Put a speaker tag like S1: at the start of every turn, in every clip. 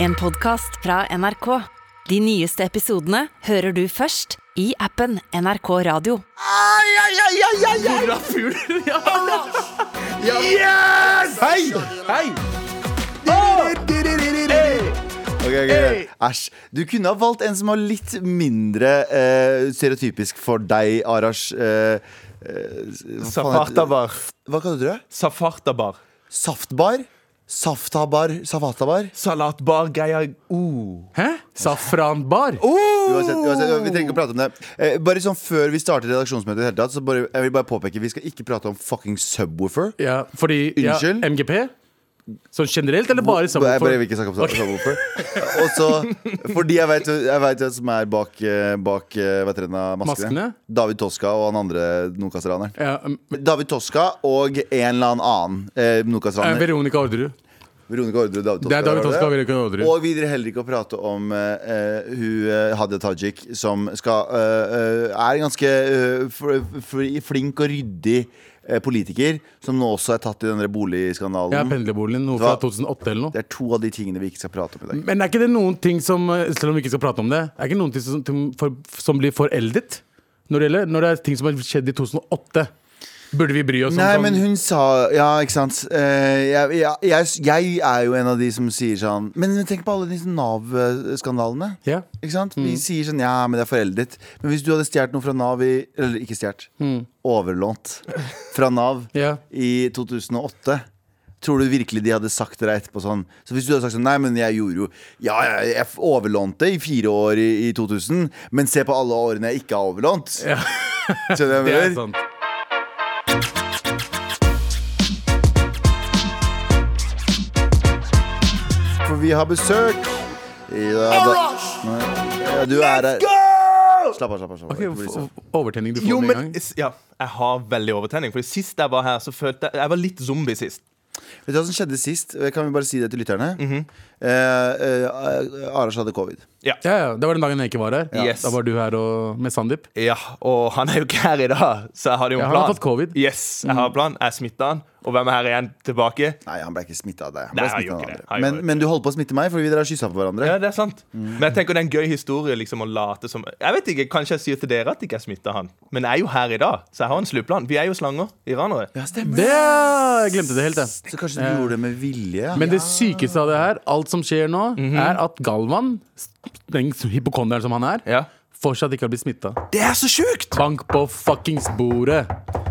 S1: En podcast fra NRK. De nyeste episodene hører du først i appen NRK Radio.
S2: Ai, ai, ai, ai, ai, ai. Yes!
S3: Hei! Hei!
S2: Ok, ok, ok. Æsj. Du kunne ha valgt en som var litt mindre eh, stereotypisk for deg, Arash. Eh, eh, hva faen heter-
S3: Safartabar.
S2: Hva kalte du det?
S3: Safartabar.
S2: Saftbar? Saftabar? Safatabar?
S3: Salatbar, greia uh.
S4: Hæ? Safranbar?
S2: Oh. Uansett, uansett, vi trenger ikke å prate om det. Eh, bare sånn Før vi starter redaksjonsmøtet, i det hele tatt, så bare, jeg vil bare påpeke vi skal ikke prate om fucking subwoofer.
S4: Ja, fordi ja,
S2: Unnskyld?
S4: MGP? Sånn generelt, eller bare sammen?
S2: Jeg bare vil ikke snakke om sub- subwoofer. Og så, fordi jeg vet, jeg vet hvem som er bak, eh, bak eh, hva heter den av maskene.
S4: Maskene?
S2: David Toska og han andre Nokas-raneren.
S4: ja, um,
S2: David Toska og en eller annen eh,
S4: eh,
S2: Nokas-raner.
S4: Veronica Orderud.
S2: Veronica Orderud, David Toska.
S4: Det er David
S2: var
S4: Toska og Veronica Orderud.
S2: Og vi gidder heller ikke å prate om eh, eh, hun eh, Hadia Tajik, som skal, eh, eh, er en ganske eh, fl- fl- flink og ryddig eh, politiker, som nå også er tatt i denne boligskandalen.
S4: Ja, pendlerboligen, noe fra
S2: Hva?
S4: 2008 eller noe.
S2: det er to av de tingene vi ikke skal prate om i dag.
S4: Men er ikke det noen ting som, eh, selv om vi ikke skal prate om det, er ikke noen ting som, ting for, som blir foreldet? Når det, gjelder, når det er ting som har skjedd i 2008, burde vi bry oss om
S2: Nei,
S4: sånn-
S2: men hun sa Ja, ikke sant. Eh, jeg, jeg, jeg, jeg er jo en av de som sier sånn Men tenk på alle disse Nav-skandalene.
S4: Ja.
S2: Ikke sant?
S4: Mm.
S2: Vi sier sånn Ja, men det er foreldet. Men hvis du hadde stjålet noe fra Nav i Eller ikke stjålet. Overlånt fra Nav
S4: Mm. Ja.
S2: i 2008. Tror du virkelig de hadde sagt det deg etterpå sånn? Så hvis du hadde sagt sånn Nei, men jeg gjorde jo Ja, ja, jeg f- overlånte i fire år i, i 2000, men se på alle årene jeg ikke har overlånt.
S4: Ja.
S2: Skjønner du hva jeg
S4: Det er
S2: mener?
S4: sant.
S2: For vi har besøk. Ja, da, Nei. ja, du er her. Slapp av, slapp av. Slapp av.
S4: Ok,
S2: Ikke bli
S4: f-
S2: sånn.
S4: Overtenning du får
S3: Jo,
S4: med en
S3: men
S4: gang.
S3: s- ja, Jeg har veldig overtenning. Fordi Sist jeg var her, så følte jeg Jeg var litt zombie sist.
S2: Vet du hva som skjedde sist? Eh, Kan vi bare si det til lytterne?
S3: Mhm.
S2: eh, eh, Arash hadde covid.
S3: Ja.
S4: Ja, ja, Det var den dagen jeg ikke var her.
S3: Yes.
S4: Da var du her og, med Sandeep.
S3: ja, Og han er jo ikke her i dag, så jeg hadde jo en
S4: Ja,
S3: plan.
S4: han har fått covid. Mm.
S3: Yes, jeg har en plan. Jeg smitta han. Og hvem er her igjen tilbake?
S2: Nei, han ble ikke smitta av deg. Han ble
S3: Nei, han
S2: smittet av
S3: gjorde ikke
S2: andre.
S3: det. Han gjorde
S2: Men,
S3: ikke
S2: men du holdt på å smitte meg, fordi vi dere har kyssa på hverandre.
S3: Ja, det er sant.
S4: Mm.
S3: Men jeg tenker det er en gøy historie liksom å late som Jeg vet ikke, Kanskje jeg sier til dere at jeg ikke smitta han, men jeg er jo her i dag, så jeg har en sluppland. Vi er jo slanger, iranere.
S2: Ja, stemmer
S4: Det Jeg glemte det helt, jeg.
S2: Så kanskje du gjorde det med vilje? Ja.
S4: Men det sykeste av det her, alt som skjer nå,
S2: Mhm.
S4: er at Galvan, den hypokonderen som han er,
S3: Ja.
S4: fortsatt ikke har blitt smitta.
S3: Det er så sjukt!
S4: Bank på fuckings bordet!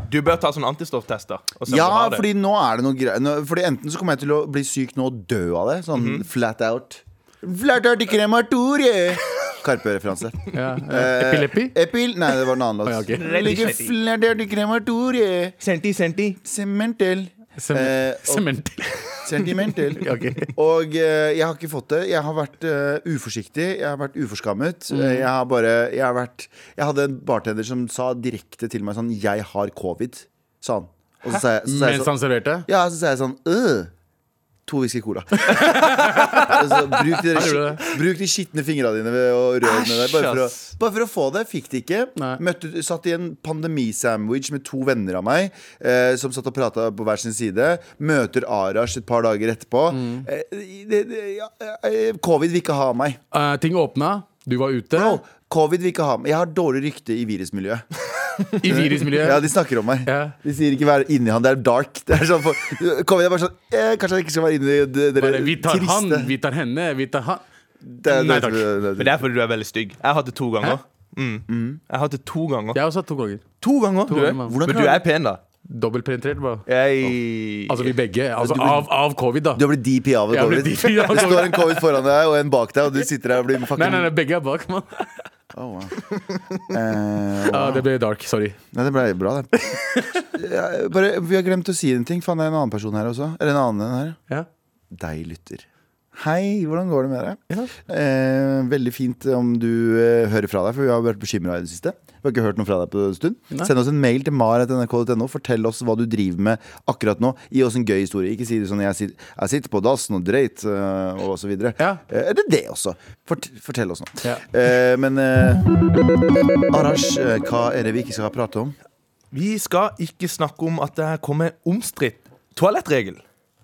S3: Du bør ta sånn antistofftester. og se om
S2: ja,
S3: du har det.
S2: fordi nå er det noe greier nå- Fordi enten så kommer jeg til å bli syk nå og dø av det. Sånn
S3: Mhm.
S2: flat out. Flat out i krematorie! Karpe-referanse.
S4: Ja. eh, Epileppi?
S2: Epil Nei, det var en annen låt.
S4: Å, ja, ok.
S2: Ligger flat out i krematorie.
S3: Senti, senti.
S2: Sementel.
S4: Sem-
S2: Eh, og-
S4: Sement.
S2: Sentimental.
S4: Ok.
S2: Og eh, jeg har ikke fått det. Jeg har vært eh, uforsiktig, jeg har vært uforskammet.
S4: Mm.
S2: Eh, Jeg har bare jeg, har vært, jeg hadde en bartender som sa direkte til meg sånn 'Jeg har covid', sa han. Og så sa jeg, så sa jeg sånn
S4: Mens han serverte?
S2: Ja, så sa jeg sånn øh, To whisky cola. altså, bruk, de,
S4: gjorde det.
S2: skit- bruk de skitne fingra dine ved å røre med deg. Bare for å,
S3: ass.
S2: bare for å få det. Fikk det ikke.
S4: Nei.
S2: Møtte, satt i en pandemisandwich med to venner av meg eh, som satt og prata på hver sin side. Møter Arash et par dager etterpå.
S4: Mm.
S2: Eh, det, det, ja, eh, covid vil ikke ha meg.
S4: Eh, ting åpna, du var ute.
S2: Bro, covid vil ikke ha meg. Jeg har dårlig rykte i virusmiljøet.
S4: I virusmiljøet.
S2: Ja, de snakker om meg.
S4: Ja.
S2: De sier ikke 'vær inni han', det er dark. Det er sånn for, kom igjen, bare sånn eh, Kanskje jeg ikke skal være inni det- dere
S4: Bare, vi tar
S2: triste
S4: han, vi tar henne, vi tar han.
S2: det, er- det
S4: Nei,
S2: er-
S4: takk.
S2: det er-
S3: Men det er fordi du er veldig stygg. Jeg har hatt det to ganger. Mm. Jeg har hatt det to ganger.
S4: Jeg har også hatt to ganger.
S3: To ganger? du er.
S4: ganger, mann.
S2: Hvordan
S3: Men
S2: kan
S3: du
S2: jeg-
S3: er pen, da.
S4: Dobbeltpenetrert, bare.
S3: Jeg
S4: Altså vi begge. Altså
S2: Du-
S4: av, av covid, da.
S2: Du har blitt DP av en
S4: Jeg har blitt
S2: covid.
S4: DP av
S2: Det står en covid foran deg og en bak deg, og du sitter der og blir fucking
S4: Nei, nei, nei, begge er bak, mann.
S2: Oh, wow. Eh,
S4: Ah, det ble dark. Sorry.
S2: nei, det ble bra, det. Ja, Bare, vi har glemt å si en ting. Faen, det er en annen person her også. Eller en annen her.
S4: Ja.
S2: Deg, lytter. Hei, hvordan går det med deg?
S4: Ja.
S2: Eh, veldig fint om du eh, hører fra deg, for vi har vært bekymra i det siste. Vi har ikke hørt noe fra deg på en stund.
S4: Nei.
S2: Send oss en mail til mar.nrk.no. Fortell oss hva du driver med akkurat nå. Gi oss en gøy historie. Ikke si det sånn 'jeg, sit, jeg sitter på dassen og dreit', eh, og så videre.
S4: Ja.
S2: Eh, eller det også. Fort, fortell oss noe.
S4: Ja.
S2: Eh, men eh, Arash, eh, hva er det vi ikke skal prate om?
S3: Vi skal ikke snakke om at det her kommer omstridt toalettregel.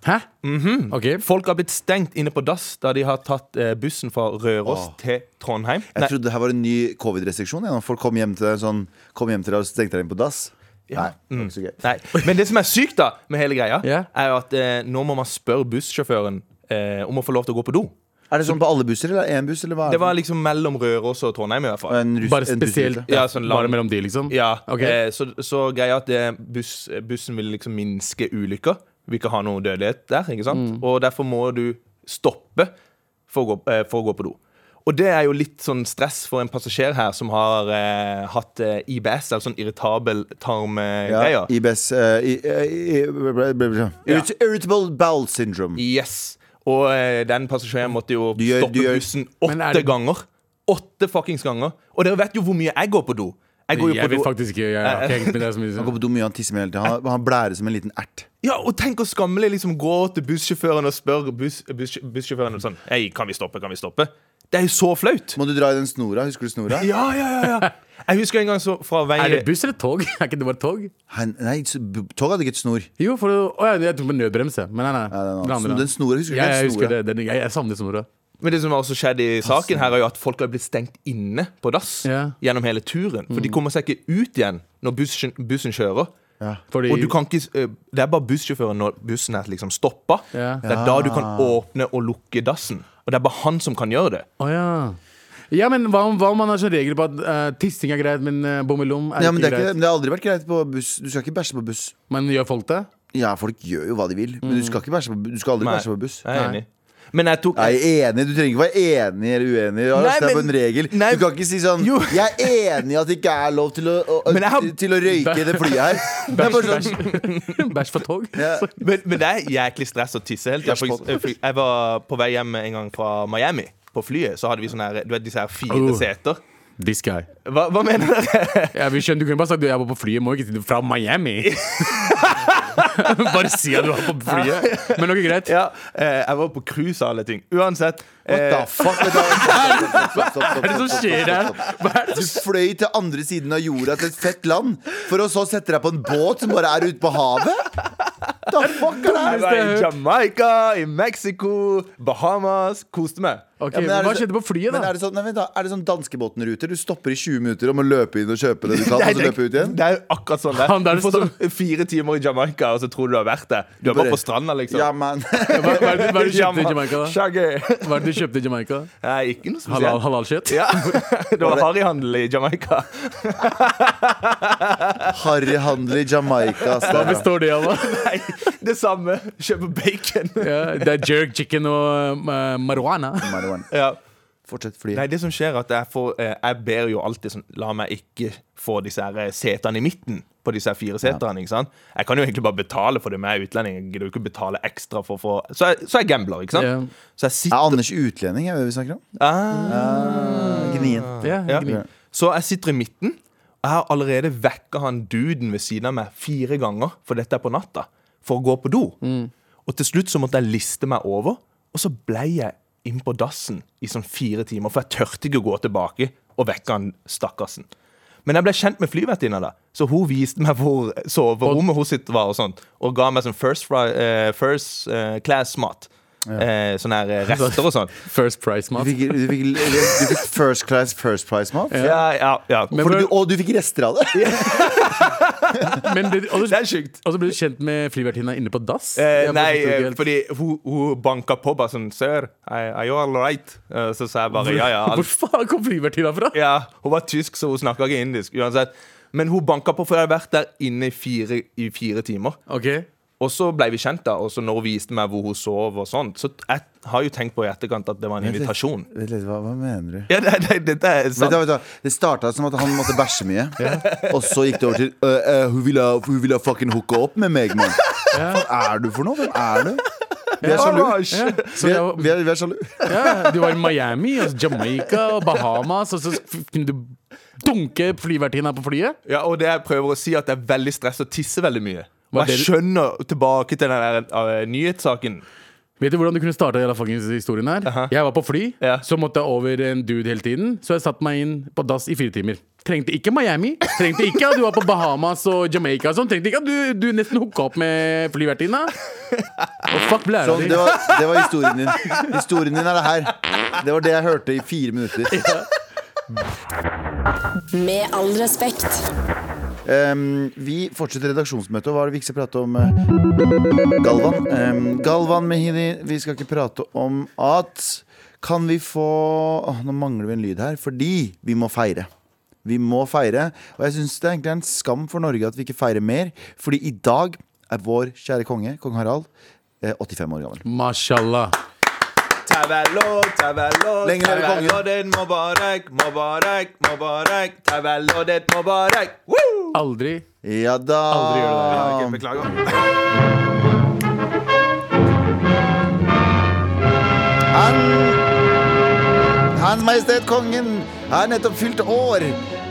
S4: Hæ?
S2: Mhm.
S4: Ok.
S3: Folk har blitt stengt inne på dass da de har tatt eh, bussen fra Røros
S2: Åh.
S3: til Trondheim.
S2: Jeg
S3: Nei,
S2: trodde det her var en ny covid-restriksjon. ja, når Folk kom hjem til deg sånn, kom hjem til deg og stengte deg inn på dass. Nei, det var ikke
S4: Mm.
S2: så gøy.
S3: Nei. Men det som er sykt da med hele greia,
S4: Ja.
S3: er jo at eh, nå må man spørre bussjåføren eh, om å få lov til å gå på do.
S2: Er det sånn på alle busser, eller én buss? Eller hva er
S3: Det var liksom mellom Røros og Trondheim, i hvert fall.
S2: en russ,
S4: Bare
S2: en
S4: spesielt
S2: russrute?
S3: Ja, sånn lang-
S4: Bare mellom de, liksom?
S3: Ja,
S4: Ok.
S3: eh, så, så greia at det, buss, bussen vil liksom minske ulykker. Vil ikke ha noe dødelighet der, ikke sant?
S2: Mm.
S3: Og derfor må du stoppe for å, gå, eh, for å gå på do. Og det er jo litt sånn stress for en passasjer her som har eh, hatt eh, IBS, eller sånn irritabel tarmgreier.
S2: Ja, IBS eh, i- i- i- ble- ble- ble- ble-
S3: Ja.
S2: Irrit- Irritable bowel syndrome.
S3: Yes. Og eh, den passasjeren måtte jo
S2: gjør-
S3: stoppe
S2: du gjør-
S3: bussen
S4: Men
S3: åtte
S4: er det-
S3: ganger. Åtte fuckings ganger. Og dere vet jo hvor mye jeg går på do. Jeg går jo
S4: Jeg
S3: på do
S4: vet faktisk ikke. Jeg har ikke hengt med deg så
S2: Han
S4: mye. sånn-
S2: går på do mye, han tisser mye hele tiden. Han, han blærer som en liten ert.
S3: Ja, og tenk å skammelig liksom gå til bussjåføren og spørre buss, buss, bussjåføren sånn Hei, kan vi stoppe, kan vi stoppe? Det er jo så flaut.
S2: Må du dra i den snora? Husker du snora?
S3: Ja, ja, ja, ja. Jeg husker en gang så fra vei
S4: Er det buss eller tog? Er ikke det bare tog?
S2: Han, nei, så- b- toget hadde ikke et snor.
S4: Jo, for å Å ja, jeg tok på nødbrems, jeg. Men nei, nei.
S2: Nei, nei,
S4: Den
S2: nei.
S4: andre.
S2: Sno- Den snora, husker du
S4: Ja,
S2: ikke?
S4: jeg
S2: den
S4: husker
S2: snora?
S4: det. Den, jeg, jeg savner snora.
S3: Men det som har også skjedd i saken her, er jo at folk har blitt stengt inne på dass
S4: Ja.
S3: gjennom hele turen. For de kommer seg ikke ut igjen når bussen, bussen kjører.
S4: Fordi
S3: Og du kan ikke, eh, Det er bare bussjåføren når bussen er liksom stoppa.
S4: Ja.
S3: Det er da du kan åpne og lukke dassen. Og det er bare han som kan gjøre det.
S4: Å ja. Ja, men hva om, hva om man har sånn regel på at eh, tissing er greit, men uh, bommelom er,
S2: Ja, men det, er ikke,
S4: greit?
S2: men det har aldri vært greit på buss. Du skal ikke bæsje på buss.
S4: Men gjør folk det?
S2: Ja, folk gjør jo hva de vil,
S4: Mm.
S2: men du skal, ikke bæsje på, bu- du skal aldri
S3: Nei.
S2: bæsje på buss.
S3: Jeg er enig. Men jeg tok
S2: Jeg er enig, Du trenger ikke være enig eller uenig. Ja,
S3: Nei,
S2: altså, det er
S3: men-
S2: på en regel
S3: nei,
S2: Du kan ikke si sånn
S3: jo.
S2: 'Jeg er enig i at det ikke er lov til å, å, å,
S3: Men jeg har-
S2: til å røyke i det flyet her'. Det er bare sånn
S4: Bæsj for tog?
S2: ja.
S3: Men, men det er jæklig stress å tisse hele tiden. For
S2: Jackpot.
S3: ekse- for- Jeg var på vei hjem en gang fra Miami. På flyet så hadde vi sånne her, du vet, disse her fire
S4: Oh.
S3: seter.
S4: This guy.
S3: Hva, hva mener dere?
S4: Ja, vi skjønner, Du kunne bare sagt du, jeg var på flyet, må ikke si det fra Miami. bare si at du var på flyet. Men noe greit.
S3: Ja, eh, jeg var på cruise og alle ting. Uansett.
S2: What the
S3: eh,
S2: fuck? Vet du hva? Stopp, stopp, stopp, stopp, stopp,
S4: Hva er det som
S2: stopp,
S4: skjer
S2: stopp,
S4: her?
S2: stopp, stopp.
S4: Hva er det
S2: Du
S4: som
S2: fløy til andre siden av jorda til et fett land, for å så sette deg på en båt som bare er ute på havet? Da fuck er det
S3: jeg
S2: her?
S3: var i Jamaica, i Mexico, Bahamas. Koste meg.
S4: Ok,
S2: Ja, men er
S4: men Hva
S2: det så-
S4: skjedde på flyet,
S2: Men
S4: da?
S2: er det sånn, nei, vent da, er det sånn danskebåten-ruter? Du stopper i 20 minutter og må løpe inn og kjøpe det du kan, og så løpe ut igjen?
S3: det er jo akkurat sånn det.
S4: Han der
S3: Du får
S4: står-
S3: sånn fire timer i Jamaica, og så tror du du har vært der. Du er
S2: Bare-
S3: bare på stranda, liksom.
S4: sånn.
S2: Ja, man.
S4: Hva, hva, er det, hva er det du kjøpte i
S3: Jama-
S4: Jamaica? da?
S3: Shaggy.
S4: Hva er det du kjøpte i Jamaica?
S3: Nei, ikke noe spesielt.
S4: Halal, halalkjøtt?
S3: Ja, Det var harryhandel i Jamaica.
S2: Harryhandel i Jamaica. ass.
S4: Hva består det av? da?
S3: Nei, det samme. Kjøpe bacon.
S4: Ja, det er jerk chicken og eh, marihuana.
S2: Marihuana.
S3: Ja.
S2: Fortsett fly.
S3: Nei, det som skjer er at jeg, får, eh, jeg ber jo alltid sånn La meg ikke få disse her eh, setene i midten på disse her fire setene. ikke sant? Jeg kan jo egentlig bare betale for det, men jeg er utlending. Jeg gidder jo ikke betale ekstra for, for Så jeg, så jeg gambler, ikke sant?
S4: Ja.
S3: Så jeg sitter
S2: Er Anders utlending, er det vi snakker om? Eh,
S3: ah,
S2: Gnien.
S4: Ja,
S3: ja.
S4: gni.
S3: Så jeg sitter i midten, og jeg har allerede vekka han duden ved siden av meg fire ganger, for dette er på natta, for å gå på do. Og til slutt så måtte jeg liste meg over, og så ble jeg inn på dassen i sånn fire timer, for jeg tørte ikke å gå tilbake og vekke han stakkarsen. Men jeg ble kjent med flyvertinna, da, så hun viste meg hvor soverommet hun sitt var, og sånt, og ga meg sånn first, fry, eh, first eh, class-mat. Eh, sånne her eh, rester og sånn.
S4: First price
S2: Du
S4: mat.
S2: fikk, du, fikk, du fikk first class, first price mat.
S3: Ja, ja, ja.
S4: Men
S2: Fordi
S4: hvor-
S2: du, og du fikk rester av det!
S4: Men det, og,
S3: Det
S4: så,
S3: er sjukt.
S4: og så ble du kjent med flyvertinna inne på dass?
S3: Eh,
S4: Jeg bare
S3: nei,
S4: forstår ikke
S3: eh,
S4: helt.
S3: fordi hun, hun banka på bare sånn Sir, are are you all right? Eh, Så sa jeg bare ja, ja.
S4: Hvor
S3: alt-
S4: faen kom flyvertinna fra?
S3: ja. Hun var tysk, så hun snakka ikke indisk. Uansett. Men hun banka på, for jeg hadde vært der inne i fire, i fire timer.
S4: Ok,
S3: Og så ble vi kjent, da. Og så når hun viste meg hvor hun sov og sånt, så jeg har jo tenkt på i etterkant at det var en
S2: litt.
S3: invitasjon.
S2: Vent litt, hva, hva mener du?
S3: Ja, det, det, dette er
S2: Vet du,
S3: sant.
S2: hva, vet du, hva? det starta som at han måtte bæsje mye, og så gikk det over til «Øh, øh, Hun ville hun ville fucking hooke opp med meg, mann. Hva er du for noe? Hvem er du? Vi er sjalu.
S3: Arash!
S4: så
S2: Vi er,
S4: jeg,
S2: vi er, vi er sjalu.
S4: ja, Du var i Miami, og Jamaica og Bahamas, og så f- kunne du dunke flyvertinna på flyet?
S3: Ja, og det jeg prøver å si, er at det er veldig stress å tisse veldig mye.
S4: Var
S3: Og jeg
S4: det-
S3: skjønner, tilbake til den der eh, nyhetssaken
S4: Vet du hvordan du kunne starta hele fuckings historien her?
S3: Aha.
S4: Jeg var på fly,
S3: Ja.
S4: så måtte jeg over en dude hele tiden. Så jeg satte meg inn på dass i fire timer. Trengte ikke Miami. Trengte ikke at du var på Bahamas og Jamaica og sånn. Trengte ikke at du, du nesten hooka opp med flyvertinna. Og fuck blæra
S2: Sånn,
S4: di.
S2: det, var, det var historien din. Historien din er det her. Det var det jeg hørte i fire minutter.
S5: Med all respekt.
S2: Ehm, vi fortsetter redaksjonsmøtet. og Hva er det vi ikke skal prate om? eh? Galvan. Ehm, Galvan Mehidi, vi skal ikke prate om at Kan vi få Åh, Nå mangler vi en lyd her, fordi vi må feire. Vi må feire. Og jeg syns det egentlig er en skam for Norge at vi ikke feirer mer. Fordi i dag er vår kjære konge, kong Harald, eh, 85 år gammel.
S4: Mashallah.
S3: Tavallo, tavallo,
S2: Lenge leve kongen.
S3: din Mubarak, Mubarak, Mubarak. Tavallo din Mubarak. Woo!
S4: Aldri.
S2: Ja
S4: Aldri gjør
S2: da.
S3: Ok, Beklager.
S2: Han Hans Majestet Kongen har nettopp fylt år.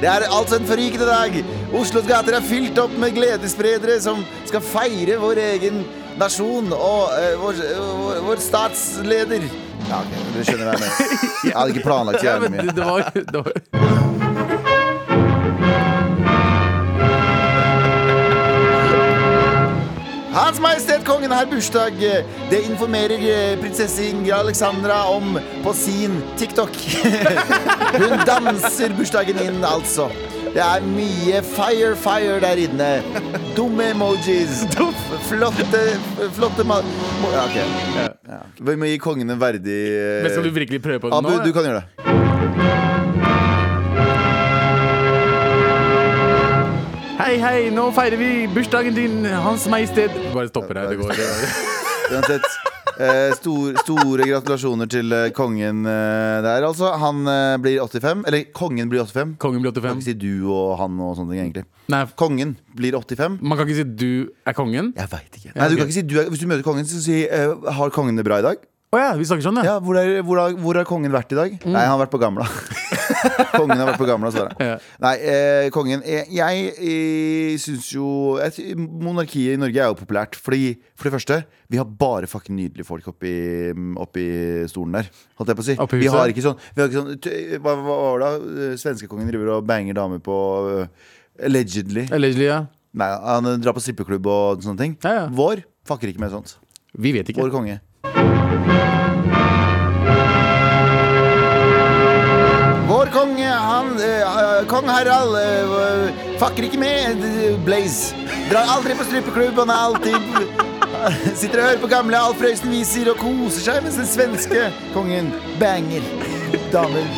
S2: Det er altså en forrykende dag. Oslos gater er fylt opp med gledesspredere som skal feire vår egen nasjon og eh, vår, vår, vår statsleder. Ja, ok, Dere skjønner hva jeg mener. Jeg hadde ikke planlagt så
S4: Ja,
S2: jævlig
S4: men
S2: mye.
S4: det, det var, det var
S2: Hans Majestet Kongen har bursdag. Det informerer eh, prinsesse Ingrid Alexandra om på sin TikTok. Hun danser bursdagen inn, altså. Det er mye fire, fire der inne. Dumme emojis. Flotte, flotte ma... mo- Ja, ok. Ja. Vi må gi kongen en verdig eh,
S4: Men skal du virkelig prøve på det
S2: Abu,
S4: nå?
S2: du kan gjøre det.
S4: Hei, hei, nå feirer vi bursdagen din, Hans Majestet. Bare stopper her. Det går. Det går.
S2: Uansett. eh, stor, store gratulasjoner til eh, kongen eh, der, altså. Han eh, blir 85. Eller kongen blir 85.
S4: Kongen blir
S2: Man kan
S4: 85.
S2: ikke si du og han og sånne ting, egentlig.
S4: Nei,
S2: Kongen blir 85.
S4: man kan ikke si du er kongen.
S2: Jeg veit ikke. Nei, du kan ikke si du er, Hvis du møter kongen, så si eh, Har kongen det bra i dag?
S4: Å ja, vi snakker sånn, ja.
S2: Ja, Hvor, er, hvor, har, hvor har kongen vært i dag?
S4: Mm.
S2: Nei, han har vært på Gamla. kongen har vært på Gamla, svarer han.
S4: Ja.
S2: Nei, eh, kongen Jeg, jeg, eh, syns jo jeg, sy- Monarkiet i Norge er jo populært. Fordi, for det første, vi har bare fucking nydelige folk oppi, oppi stolen der. Holdt jeg på å si.
S4: Oppi
S2: Vi
S4: huset?
S2: har ikke sånn, vi har ikke sånn t- Hva hva var det da? eh, Svenskekongen driver og banger damer på eh, Allegedly.
S4: Allegedly, ja.
S2: Nei, han drar på strippeklubb og sånne ting.
S4: Ja, ja.
S2: Vår fucker ikke med sånt.
S4: Vi vet ikke.
S2: Vår konge. Vår konge, han eh, eh, Kong Harald eh, fucker ikke med eh, Blaze. Drar aldri på strippeklubb. Han er alltid Sitter og hører på gamle Alf Prøysen-viser og koser seg mens den svenske kongen banger damer.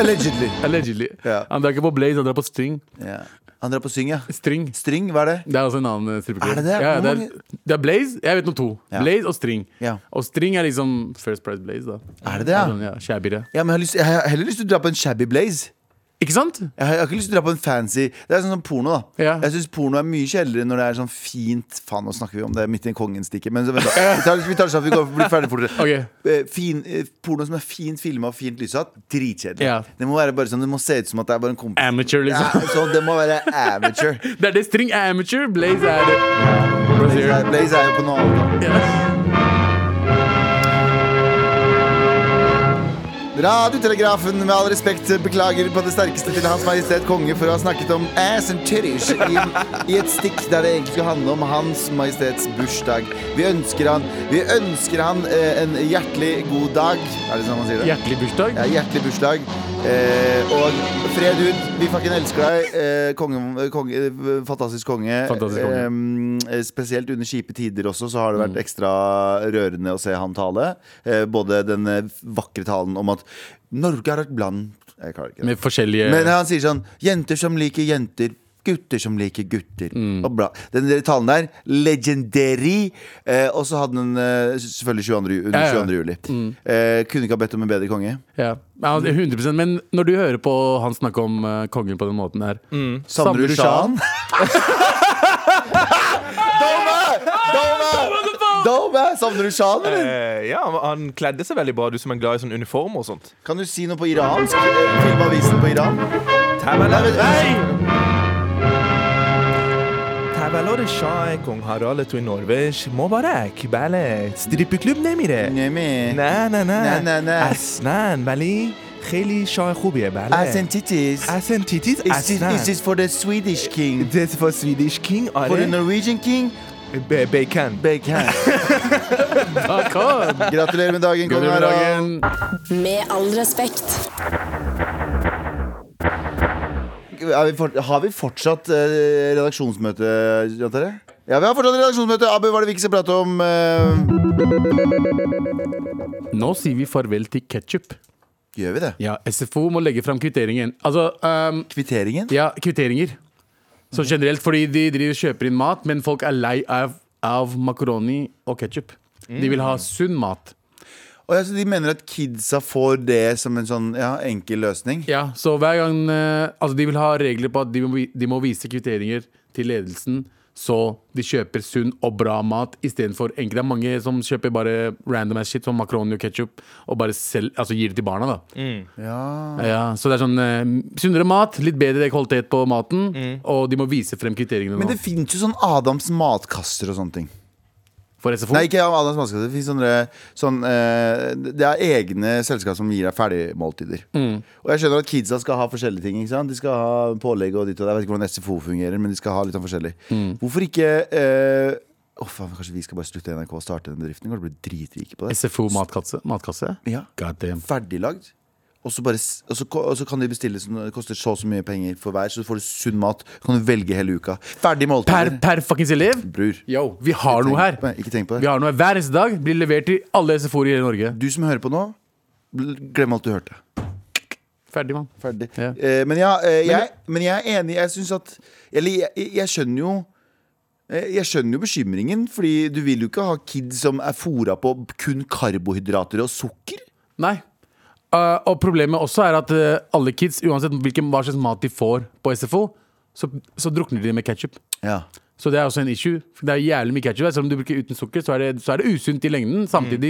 S2: Allegedly.
S4: Allegedly.
S2: Ja.
S4: Han drar ikke på Blaze, han drar på String.
S2: Ja. Han drar på syng, ja.
S4: String.
S2: String, hva er det?
S4: Det er også en annen eh, strippeklubb.
S2: Er det det?
S4: Ja, ja,
S2: Hvor
S4: det,
S2: mange-
S4: er, det er Blaze. Jeg vet noe to.
S2: Ja.
S4: Blaze og String.
S2: Ja.
S4: Og String er liksom First Price Blaze, da.
S2: Er det det, ja?
S4: Sånn, ja Skjærbitte.
S2: ja men jeg, har lyst, jeg har heller lyst til å dra på en shabby blaze.
S4: Ikke sant?
S2: Jeg har, jeg har ikke lyst til å dra på en fancy Det er sånn som porno, da.
S4: Ja.
S2: Jeg syns porno er mye kjeldere når det er sånn fint Faen, nå snakker vi om det midt i en kongenstikke. Men så, vent, da. Vi tar, vi tar det sånn at vi går, blir ferdig fortere.
S4: Ok.
S2: Eh, Fin, eh, porno som er fint filma og fint lyssatt, dritkjedelig.
S4: Ja.
S2: Det må være bare sånn Det må se ut som at det er bare en kompis.
S4: Amateur,
S2: Ja,
S4: liksom.
S2: sånn, det må være amateur.
S4: Det er det String er amateur. Blaze er det.
S2: Blaze er- Blaze er jo på noe annet. da. Radiotelegrafen, med all respekt, beklager på det sterkeste til Hans Majestet Konge for å ha snakket om ass and titties i, en, i et stikk der det egentlig skulle handle om Hans Majestets bursdag. Vi ønsker han, vi ønsker han eh, en hjertelig god dag. Er det sånn man sier det?
S4: Hjertelig bursdag.
S2: Ja, hjertelig bursdag. Eh, og fred ut. Vi fucking elsker deg. Eh, konge, konge, eh, fantastisk konge.
S4: Fantastisk konge. Mm.
S2: Eh, spesielt under kjipe tider også, så har det vært ekstra rørende å se han tale. Eh, både den eh, vakre talen om at Norge er et land Jeg klarer ikke det.
S4: Med forskjellige
S2: Men han sier sånn Jenter som liker jenter Gutter som liker gutter
S4: Mm.
S2: Og bla Den der talen der Legendary eh, Og så hadde den eh, selvfølgelig 22. ju-
S4: Ja, Mm. ja.
S2: 22. juli eh, Kunne ikke ha bedt om en bedre konge
S4: Ja, ja, 100 Men når du hører på han snakke om eh, kongen på den måten her
S2: Savner du Shahan? Dome! Dome! Dome! Savner du Shahan, eller?
S3: Eh, ja, han- han kledde seg veldig bra, du som er glad i sånn uniform og sånt.
S2: Kan du si noe på iransk? Eh, Filmavisen på Iran?
S3: Tavallo,
S2: Nei,
S3: tavallo, Jeg velger å se kong Harald til Norvege. Må bare kvele strippeklubb nedi det.
S2: Nemi.
S3: Nei, nei, nei.
S2: Nei, nei, nei.
S3: Asnan, veldig. Really se hobby, veldig.
S2: I send titties.
S3: Asnan tittis,
S2: Is this,
S3: asnan.
S2: is this for the Swedish king?
S3: Det er for Swedish king, آره.
S2: For the
S3: are
S2: Norwegian king?
S3: det? Bacon.
S2: Big hand.
S4: Akkurat.
S2: Gratulerer med dagen, kong
S4: Gratulerer
S2: Harald.
S4: med dagen.
S5: Med all respekt.
S2: Er vi fort- Har vi fortsatt eh, redaksjonsmøte, Jan Terje? Ja, vi har fortsatt redaksjonsmøte. Abu, hva er det vi ikke skal prate om? eh?
S4: Nå sier vi farvel til ketsjup.
S2: gjør vi det?
S4: Ja, SFO må legge fram kvitteringen. Altså, ehm,
S2: Kvitteringen?
S4: ja, kvitteringer. Så generelt, fordi de driver og kjøper inn mat, men folk er lei av, av makaroni og ketsjup. De vil ha sunn mat.
S2: Og ja, så de mener at kidsa får det som en sånn ja, enkel løsning?
S4: Ja, så hver gang eh, Altså, de vil ha regler på at de må, vi- de må vise kvitteringer til ledelsen, så de kjøper sunn og bra mat istedenfor enkelte. Det er mange som kjøper bare random ass shit som makaroni og ketsjup, og bare selv, altså gir det til barna, da. Ja, så det er sånn eh, sunnere mat, litt bedre kvalitet på maten, og de må vise frem kriteriene
S2: Men
S4: nå.
S2: det fins jo sånn Adams matkasser og sånne ting.
S4: For SFO?
S2: Nei, ikke Adams matkasser. Det finnes sånne, sånn, eh, Det er egne selskap som gir deg ferdigmåltider. Og jeg skjønner at kidsa skal ha forskjellige ting. Ikke sant? De skal ha pålegg og ditt og det. Jeg vet ikke hvordan SFO fungerer, men de skal ha litt sånn forskjellig. Hvorfor ikke eh, Å faen, Kanskje vi skal bare slutte i NRK og starte den bedriften? Går det blir dritrike på det?
S4: SFO matkasse? matkasse?
S2: Ja.
S4: God damn.
S2: Ferdiglagd. Og så, bare, s- og, så, ko- og så kan de bestille sånn, Det koster så og så mye penger for hver, så får du sunn mat. Kan du velge hele uka. Ferdig
S4: Per,
S2: måltider.
S4: per fuckings elev?
S2: Bror.
S4: Yo, vi har noe her.
S2: Tenk på det. Ikke tenk på det.
S4: Vi har noe her. Hver eneste dag blir levert til alle SFO-er i hele Norge.
S2: Du som hører på nå, bl- glem alt du hørte.
S4: Ferdig, mann.
S2: Ferdig.
S4: Ja.
S2: Eh, men, ja, eh, jeg, men jeg er enig. Jeg syns at Eller jeg, jeg, jeg skjønner jo eh, jeg skjønner jo bekymringen, Fordi du vil jo ikke ha kids som er fora på kun karbohydrater og sukker.
S4: Nei. Uh, og problemet også er at uh, alle kids, uansett hvilken, hva slags mat de får på SFO, så, så drukner de med ketsjup.
S2: Ja.
S4: Så det er også en issue. Det er jævlig mye ketsjup. Selv om du bruker uten sukker, så er det, så er det usunt i lengden. Samtidig,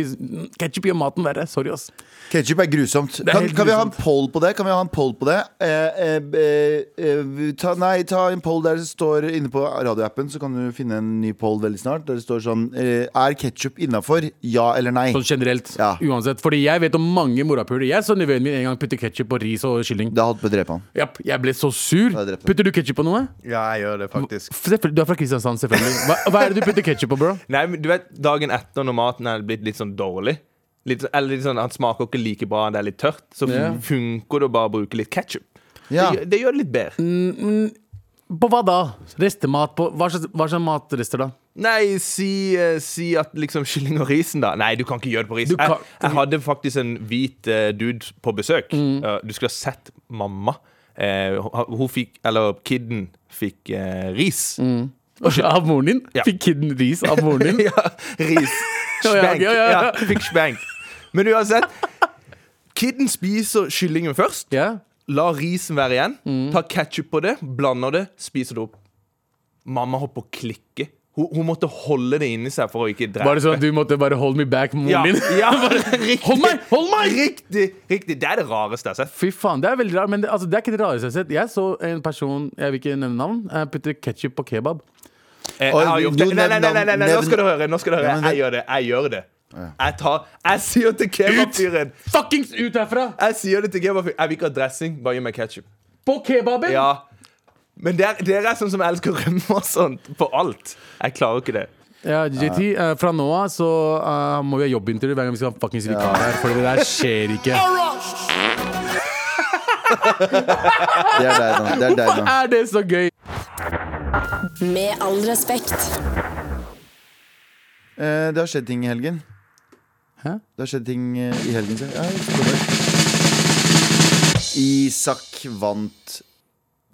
S4: ketsjup gjør maten verre. Sorry, ass.
S2: Ketsjup er grusomt.
S4: er
S2: kan,
S4: helt
S2: kan vi ha en
S4: grusomt.
S2: poll på det? Kan vi ha en poll på det? Eh, eh, eh, eh, ta, nei, ta en poll der det står inne på radioappen, så kan du finne en ny poll veldig snart. Der det står sånn eh, Er ketsjup innafor? Ja eller nei?
S4: Sånn generelt.
S2: Ja.
S4: Uansett. Fordi jeg vet om mange morapuler. Jeg så nevøen min en gang putte ketsjup på ris og kylling.
S2: Det har holdt på å drepe han.
S4: Japp, jeg ble så sur.
S2: Da drepte han.
S4: Putter du ketsjup på noe?
S3: Ja, jeg gjør det faktisk.
S4: F- selvfølgelig- Du er fra Kristiansand, selvfølgelig. Hva, hva er det du putter ketsjup på, bro?
S3: Nei, men du vet, dagen etter når maten er blitt litt sånn dårlig litt, Eller litt sånn, han smaker ikke like bra, det er litt tørt Så
S4: Ja.
S3: funker det å bare bruke litt ketchup
S2: Ja.
S3: det, gjør- det gjør det litt bedre
S4: På hva da? Restemat på Hva slags, hva slags matrester, da?
S3: Nei, si, eh, si at liksom kylling og risen da Nei, du kan ikke gjøre det på ris
S4: Du kan-
S3: jeg, jeg hadde faktisk en hvit eh, dude på besøk
S4: Mm.
S3: Eh, Du skulle ha sett mamma Eh, hun, hun fikk, eller kidden fikk eh, ris
S4: Mm. Av moren din?
S3: Ja.
S4: Fikk kiden ris av moren din?
S3: Ja, ris.
S4: Ja, ja,
S3: Spank.
S4: ja, ja, ja.
S3: Ja, fikk spank. Men uansett. Kidden spiser kyllingen først.
S4: Ja. Mm.
S3: La risen være igjen. Ta ketsjup på det, blander det, spiser det opp. Mamma holdt på å klikke. Hun, hun måtte holde det inni seg for å ikke drepe.
S4: Var det sånn at du måtte bare hold me back, moren
S3: ja,
S4: din?
S3: ja, riktig,
S4: Hold meg! Hold meg!
S3: Riktig, riktig. Det er det rareste jeg har sett.
S4: Fy faen, det er veldig rart. Men det, altså, det er ikke det rareste jeg har sett. Jeg så en person, jeg vil ikke nevne navn, eh, putte ketsjup på kebab.
S3: Eh,
S2: Oi,
S3: Jeg har gjort det.
S2: jo,
S3: Nei, nei, nei, nei, nei, nei, nå
S2: nevn-
S3: skal du høre. Nå skal du høre.
S2: Ja, men det-
S3: Jeg gjør det. Jeg gjør det. Jeg, tar, jeg sier til kebabfyren
S4: Fuckings ut herfra!
S3: Jeg sier det til kebabfyren. Jeg vil ikke ha dressing, bare gi meg ketsjup.
S4: På kebaben!
S3: Ja. Men dere, dere er sånn som elsker rømme og sånt på alt. Jeg klarer ikke det.
S4: Ja, JT, eh, fra nå av så eh, må vi ha jobbintervju hver gang vi skal ha fuckings vikar her, for det der skjer ikke.
S2: Det er deg nå. Det er deg
S4: Hvorfor
S2: nå.
S4: er det så gøy?
S5: Med all respekt.
S2: Eh, det har skjedd ting i helgen.
S4: Hæ?
S2: Det har skjedd ting eh, i helgen, sier jeg. Ja, jeg tror det. Isak vant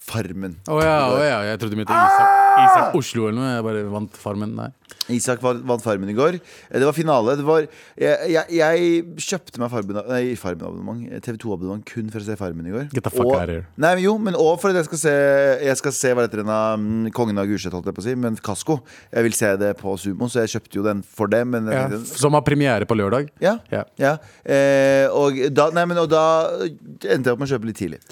S2: Farmen.
S3: Ah!
S4: Å ja, å ja, jeg trodde du mente Isak, Isak Oslo eller noe. Jeg bare vant Farmen. Nei.
S2: Isak vant vant Farmen i går. Eh, Det var finale. Det var, jeg, jeg, jeg kjøpte meg Farmen, nei, Eh, farmen abonnement TV2-abonnement kun for å se Farmen i går.
S4: Get the fuck
S2: og,
S4: out of here.
S2: Nei, men jo, men òg for at jeg skal se Jeg skal se hva heter den av mm, Kongen av Gulset, holdt jeg på å si, men Kasko. Jeg vil se det på Sumo, så jeg kjøpte jo den for det. Men jeg tenkte-
S4: Som har premiere på lørdag.
S2: ja,
S4: Ja.
S2: ja. Eh, og, da, nei, men, og da eh, endte jeg opp med å kjøpe litt tidlig.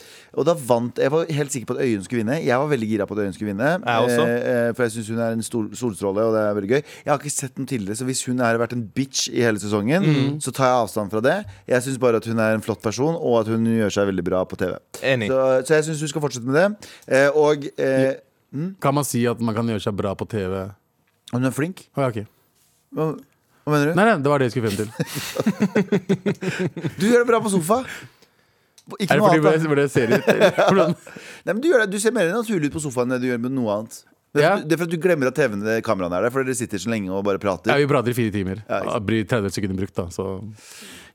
S2: Og da vant Jeg var helt sikker på at Øyunn skulle vinne. Jeg var veldig gira på at Øyunn skulle vinne.
S3: Jeg også.
S2: Eh, eh, for jeg syns hun er en stol, solstråle, og det er veldig gøy. Jeg har ikke sett henne tidligere, så hvis hun har vært en bitch i hele sesongen,
S4: Mhm.
S2: så tar jeg avstand fra det. Jeg syns bare at hun er en flott person, og at hun gjør seg veldig bra på TV.
S3: Enig.
S2: Så, så jeg syns hun skal fortsette med det. Eh, og eh,
S4: Kan man si at man kan gjøre seg bra på TV? Å,
S2: hun er flink.
S4: ja, ok.
S2: Hva, hva mener du?
S4: Nei, nei, det var det jeg skulle frem til.
S2: Du gjør det bra på sofa. Ikke
S4: Er det
S2: noe
S4: fordi
S2: annet. da.
S4: hvor det ser ut? eller? Hvordan-
S2: Nei, men du, gjør det, du ser mer naturlig ut på sofaen enn du gjør med noe annet. Det er,
S4: Ja.
S2: for- det er for at du glemmer at TV-en det kameraene er der, fordi dere sitter så lenge og bare
S4: Ja,
S2: prater.
S4: vi prater i fire timer.
S2: Ja, ikke sant.
S4: Ja, blir 30 sekunder brukt, da. Så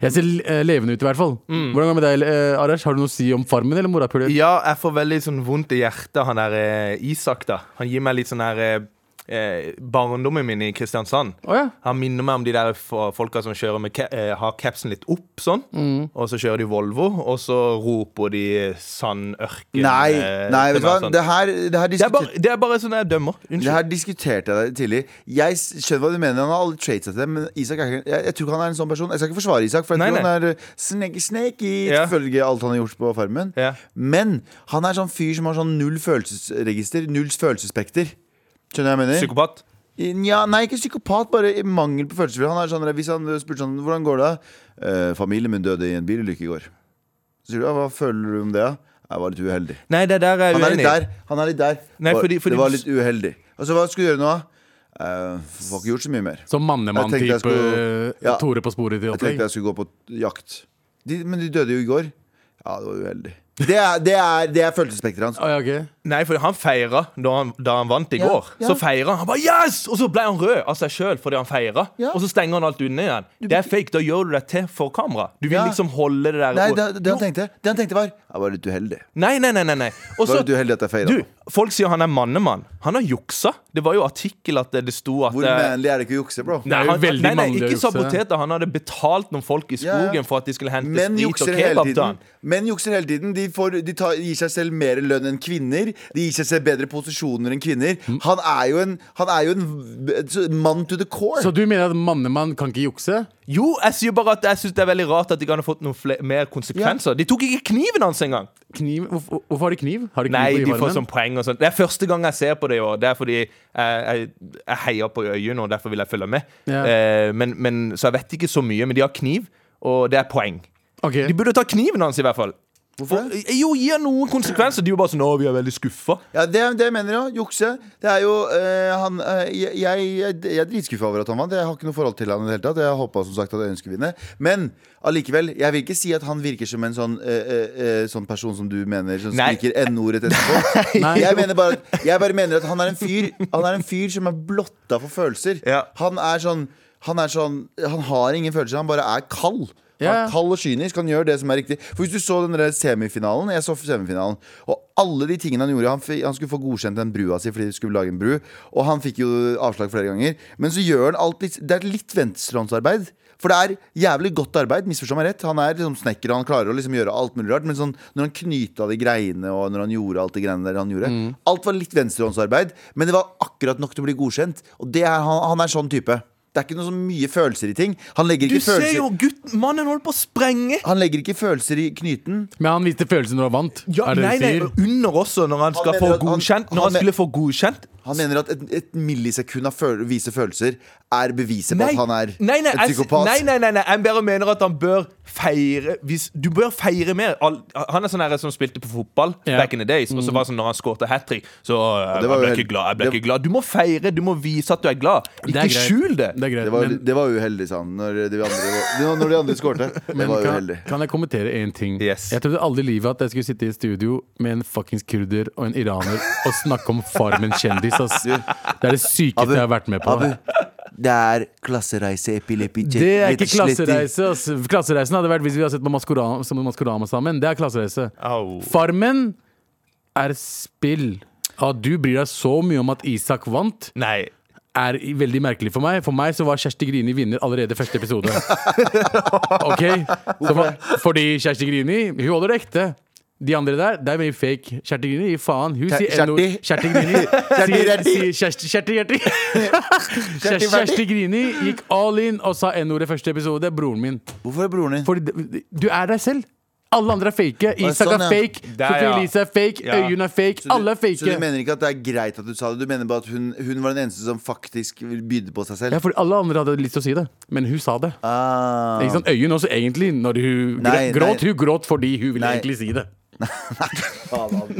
S4: jeg ser eh, levende ut, i hvert fall.
S3: Mm.
S4: Hvordan går det med deg, eh, Arash? Har du noe å si om Farmen eller morapuler?
S3: Ja, jeg får veldig sånn vondt i hjertet, han der eh, Isak, da. Han gir meg litt sånn her eh, eh, Barndommen min i Kristiansand.
S4: Å ja.
S3: Han minner meg om de der fo- folka som kjører med ca eh, har capsen litt opp sånn.
S2: Mm.
S3: Og så kjører de Volvo, og så roper de sandørken
S2: Nei,
S3: eh,
S2: nei, vet
S3: til
S2: du hva.
S3: meg og sånn.
S2: Det her, det her,
S3: Det er,
S2: diskuter,
S3: bare, det er bare sånn jeg dømmer.
S2: det
S3: Unnskyld.
S2: her diskuterte jeg deg tidlig. Jeg s- skjønner hva du mener, han har alle traits etter det, men Isak er ikke, jeg, jeg tror ikke han er en sånn person. Jeg skal ikke forsvare Isak, for jeg
S3: Nei,
S2: tror
S3: nei.
S2: han er eh, snake, snake i
S3: Ja.
S2: følge alt han har gjort på Farmen.
S3: Ja.
S2: Men han er sånn fyr som har sånn null følelsesregister, null følelsesspekter. Skjønner du hva jeg mener?
S3: Psykopat.
S2: Nja, nei, ikke psykopat, bare i mangel på følelsesfrihet. Han er sånn, hvis han spurte sånn, hvordan går det? Eh, familien min døde i en bilulykke i går. Så sier du, ja, hva føler du om det? da? Jeg var litt uheldig.
S3: Nei, det der er jeg
S2: Han er litt
S3: uenig i.
S2: der. Han er litt der.
S3: Nei,
S2: Var-
S3: fordi- fordi
S2: det var
S3: du-
S2: litt uheldig. Altså, hva skulle du gjøre nå? Uh, får ikke gjort så mye mer.
S4: Som
S2: Jeg tenkte
S4: mannemann-type
S2: jeg skulle-
S4: eh,
S2: Ja.
S4: Tore på sporet til
S2: Jeg tenkte
S4: opplegg?
S2: jeg skulle gå på jakt. De, men de døde jo i går. Ja, det var uheldig. Det er, det er, det er følelsesspekteret hans.
S4: Å ja, ok.
S3: Nei, for han feira da, han- da han vant i
S2: Ja,
S3: går.
S2: ja.
S3: Så feira han. han bare, yes! Og så ble han rød av seg sjøl fordi han feira.
S2: Ja.
S3: Og så stenger han alt unna igjen. Det er fake. Da gjør du deg til for kamera. Du vil
S2: Ja.
S3: liksom holde det der
S2: Nei,
S3: og-
S2: det, det, han tenkte, det han tenkte var Jeg var litt uheldig.
S3: Nei, nei, nei, nei, nei.
S2: Det var
S3: Og så
S2: litt uheldig at jeg feira.
S3: du, Folk sier han er mannemann. Han har juksa. Det var jo artikkel at det, det sto at
S2: Hvor
S3: eh,
S2: manly er det ikke å jukse, bro?
S4: Det er jo
S3: han,
S4: veldig
S3: nei, nei,
S4: mannlig å
S3: ikke
S4: jukse.
S3: sabotert. da. Han hadde betalt noen folk i
S2: Ja, ja.
S3: skogen for at de skulle hente
S2: Menn
S3: sprit og
S2: jukser hele
S3: kebab til
S2: tiden.
S3: han.
S2: Menn jukser hele tiden. De, får, de tar, gir seg selv mer lønn enn kvinner. De gir seg selv bedre posisjoner enn kvinner. Han er jo en, han er jo en v- mann to the core.
S4: Så du mener at mannemann kan ikke jukse?
S3: Jo, jeg sier bare at jeg syns det er veldig rart at de ikke hadde fått noen fle mer konsekvenser. De tok ikke kniven hans engang!
S4: Kniv? Hvorfor, hvorfor har de kniv? Har de kniv
S3: Nei,
S4: på
S3: de får
S4: uniformen?
S3: sånn poeng og sånt. Det er første gang jeg ser på det i år. Det er fordi jeg, jeg, jeg heier på Øyunn, og derfor vil jeg følge med.
S4: Ja.
S3: Eh, men, men, så jeg vet ikke så mye. Men de har kniv, og det er poeng.
S4: Ok.
S3: De burde ta kniven hans, i hvert fall.
S2: Hvorfor det?
S3: Og- Jo, gi han noen konsekvenser. De er jo bare sånn 'Å, vi er veldig skuffa'.
S2: Ja, det, er- det mener jeg. Jukse. Det er jo eh, han eh, jeg, jeg, jeg er dritskuffa over at han vant. Jeg har ikke noe forhold til han i det hele tatt. Jeg håpa som sagt at Øyunn skulle vinne. Men allikevel, jeg vil ikke si at han virker som en sånn, eh, eh, eh, sånn person som du mener, som
S3: Nei.
S2: skriker N-ordet etterpå.
S4: Nei.
S2: Jeg, mener bare, at- jeg bare mener at han er en fyr Han er en fyr som er blotta for følelser.
S3: Ja.
S2: Han er sånn han, er sånn, han har ingen følelser, han bare er kald. Han
S4: Ja,
S2: er
S4: ja.
S2: kald og kynisk. Han gjør det som er riktig. For Hvis du så den der semifinalen, jeg så semifinalen, og alle de tingene han gjorde Han, fi- han skulle få godkjent den brua si fordi de skulle lage en bru, og han fikk jo avslag flere ganger. Men så gjør han alt litt Det er litt venstrehåndsarbeid. For det er jævlig godt arbeid, misforstå meg rett. Han er liksom snekker, og han klarer å liksom gjøre alt mulig rart. Men sånn, når han knyta de greiene, og når han gjorde alt de greiene der han gjorde
S3: Mm.
S2: Alt var litt venstrehåndsarbeid, men det var akkurat nok til å bli godkjent. Og det er, han, han er sånn type. Det er ikke noe så mye følelser i ting. Han legger
S3: Du
S2: ikke
S3: ser
S2: følelser
S3: jo gutt, mannen holder på å sprenge.
S2: Han legger ikke følelser i knyten.
S4: Men han viste følelsen når han vant?
S3: Ja,
S4: er det
S3: nei,
S4: du
S3: nei,
S4: sier?
S3: under også, når han skal
S2: mener
S3: få
S2: at han-
S3: godkjent. Når
S2: han
S3: han
S2: men-
S3: skulle få godkjent
S2: Han mener at et, et millisekund av føl vise følelser er beviset på
S3: Nei,
S2: at han er
S3: nei, nei,
S2: en
S3: jeg-
S2: psykopat.
S3: Nei, nei, nei, nei, jeg bare mener at han bør feire hvis, Du bør feire mer. Al- Han er sånn her som spilte på fotball
S4: Ja. Mm.
S3: back in the days. Og så var det sånn når han skårte hat trick, så øh,
S2: det var
S3: jeg ble
S2: jo helt-
S3: ikke glad. Jeg ble
S2: det-
S3: ikke glad. Du må feire, du må vise at du er glad.
S4: Det er
S3: Ikke
S4: greit.
S3: skjul det.
S4: Det er greit.
S2: Det, var,
S4: men,
S2: det var uheldig, sa han, når de andre, når de andre skårte. Det
S4: men
S2: var
S4: kan,
S2: uheldig.
S4: kan jeg kommentere én ting?
S3: Yes.
S4: Jeg trodde aldri i livet at jeg skulle sitte i studio med en fuckings kurder og en iraner og snakke om Farmen kjendis. Ass. Det er det sykeste jeg har vært med på.
S2: Abu, det er klassereise epilepi
S4: Det er ikke klassereise. Ass. Klassereisen hadde vært hvis vi hadde sett på Maskorama, som Maskorama sammen. Det er klassereise.
S3: Au.
S4: Farmen er spill. At du bryr deg så mye om at Isak vant,
S3: Nei.
S4: er veldig merkelig for meg. For meg så var Kjersti Grini vinner allerede første episode. Ok? Så for, fordi Kjersti Grini, hun holder det ekte. De andre der, det er mye fake. Kjersti Grini, gir faen. Hun
S2: Kjer-
S4: sier NO.
S2: Kjerti.
S4: Kjersti Grini. sier-
S2: Kjerti.
S4: sier Kjersti Kjerti Kjerti. Kjersti Kjersti Grini gikk all in og sa N-ordet første episode. Broren min.
S2: Hvorfor er broren din?
S4: Fordi det- du er deg selv. Alle andre er fake. Isak
S2: sånn,
S4: er
S2: ja.
S4: fake.
S3: Der,
S4: Sophie
S3: ja.
S4: Elise er fake.
S3: Ja.
S4: Øyunn er fake.
S2: Så du-
S4: Alle er fake.
S2: Så du mener ikke at det er greit at du sa det? Du mener bare at hun, hun var den eneste som faktisk ville bydde på seg selv?
S4: Ja, fordi alle andre hadde lyst til å si det, men hun sa det.
S2: Ah.
S4: Ikke sant? Øyunn også, egentlig, når hun gr-
S2: Nei, nei.
S4: gråt, hun gråt fordi hun ville
S2: Nei.
S4: egentlig si det.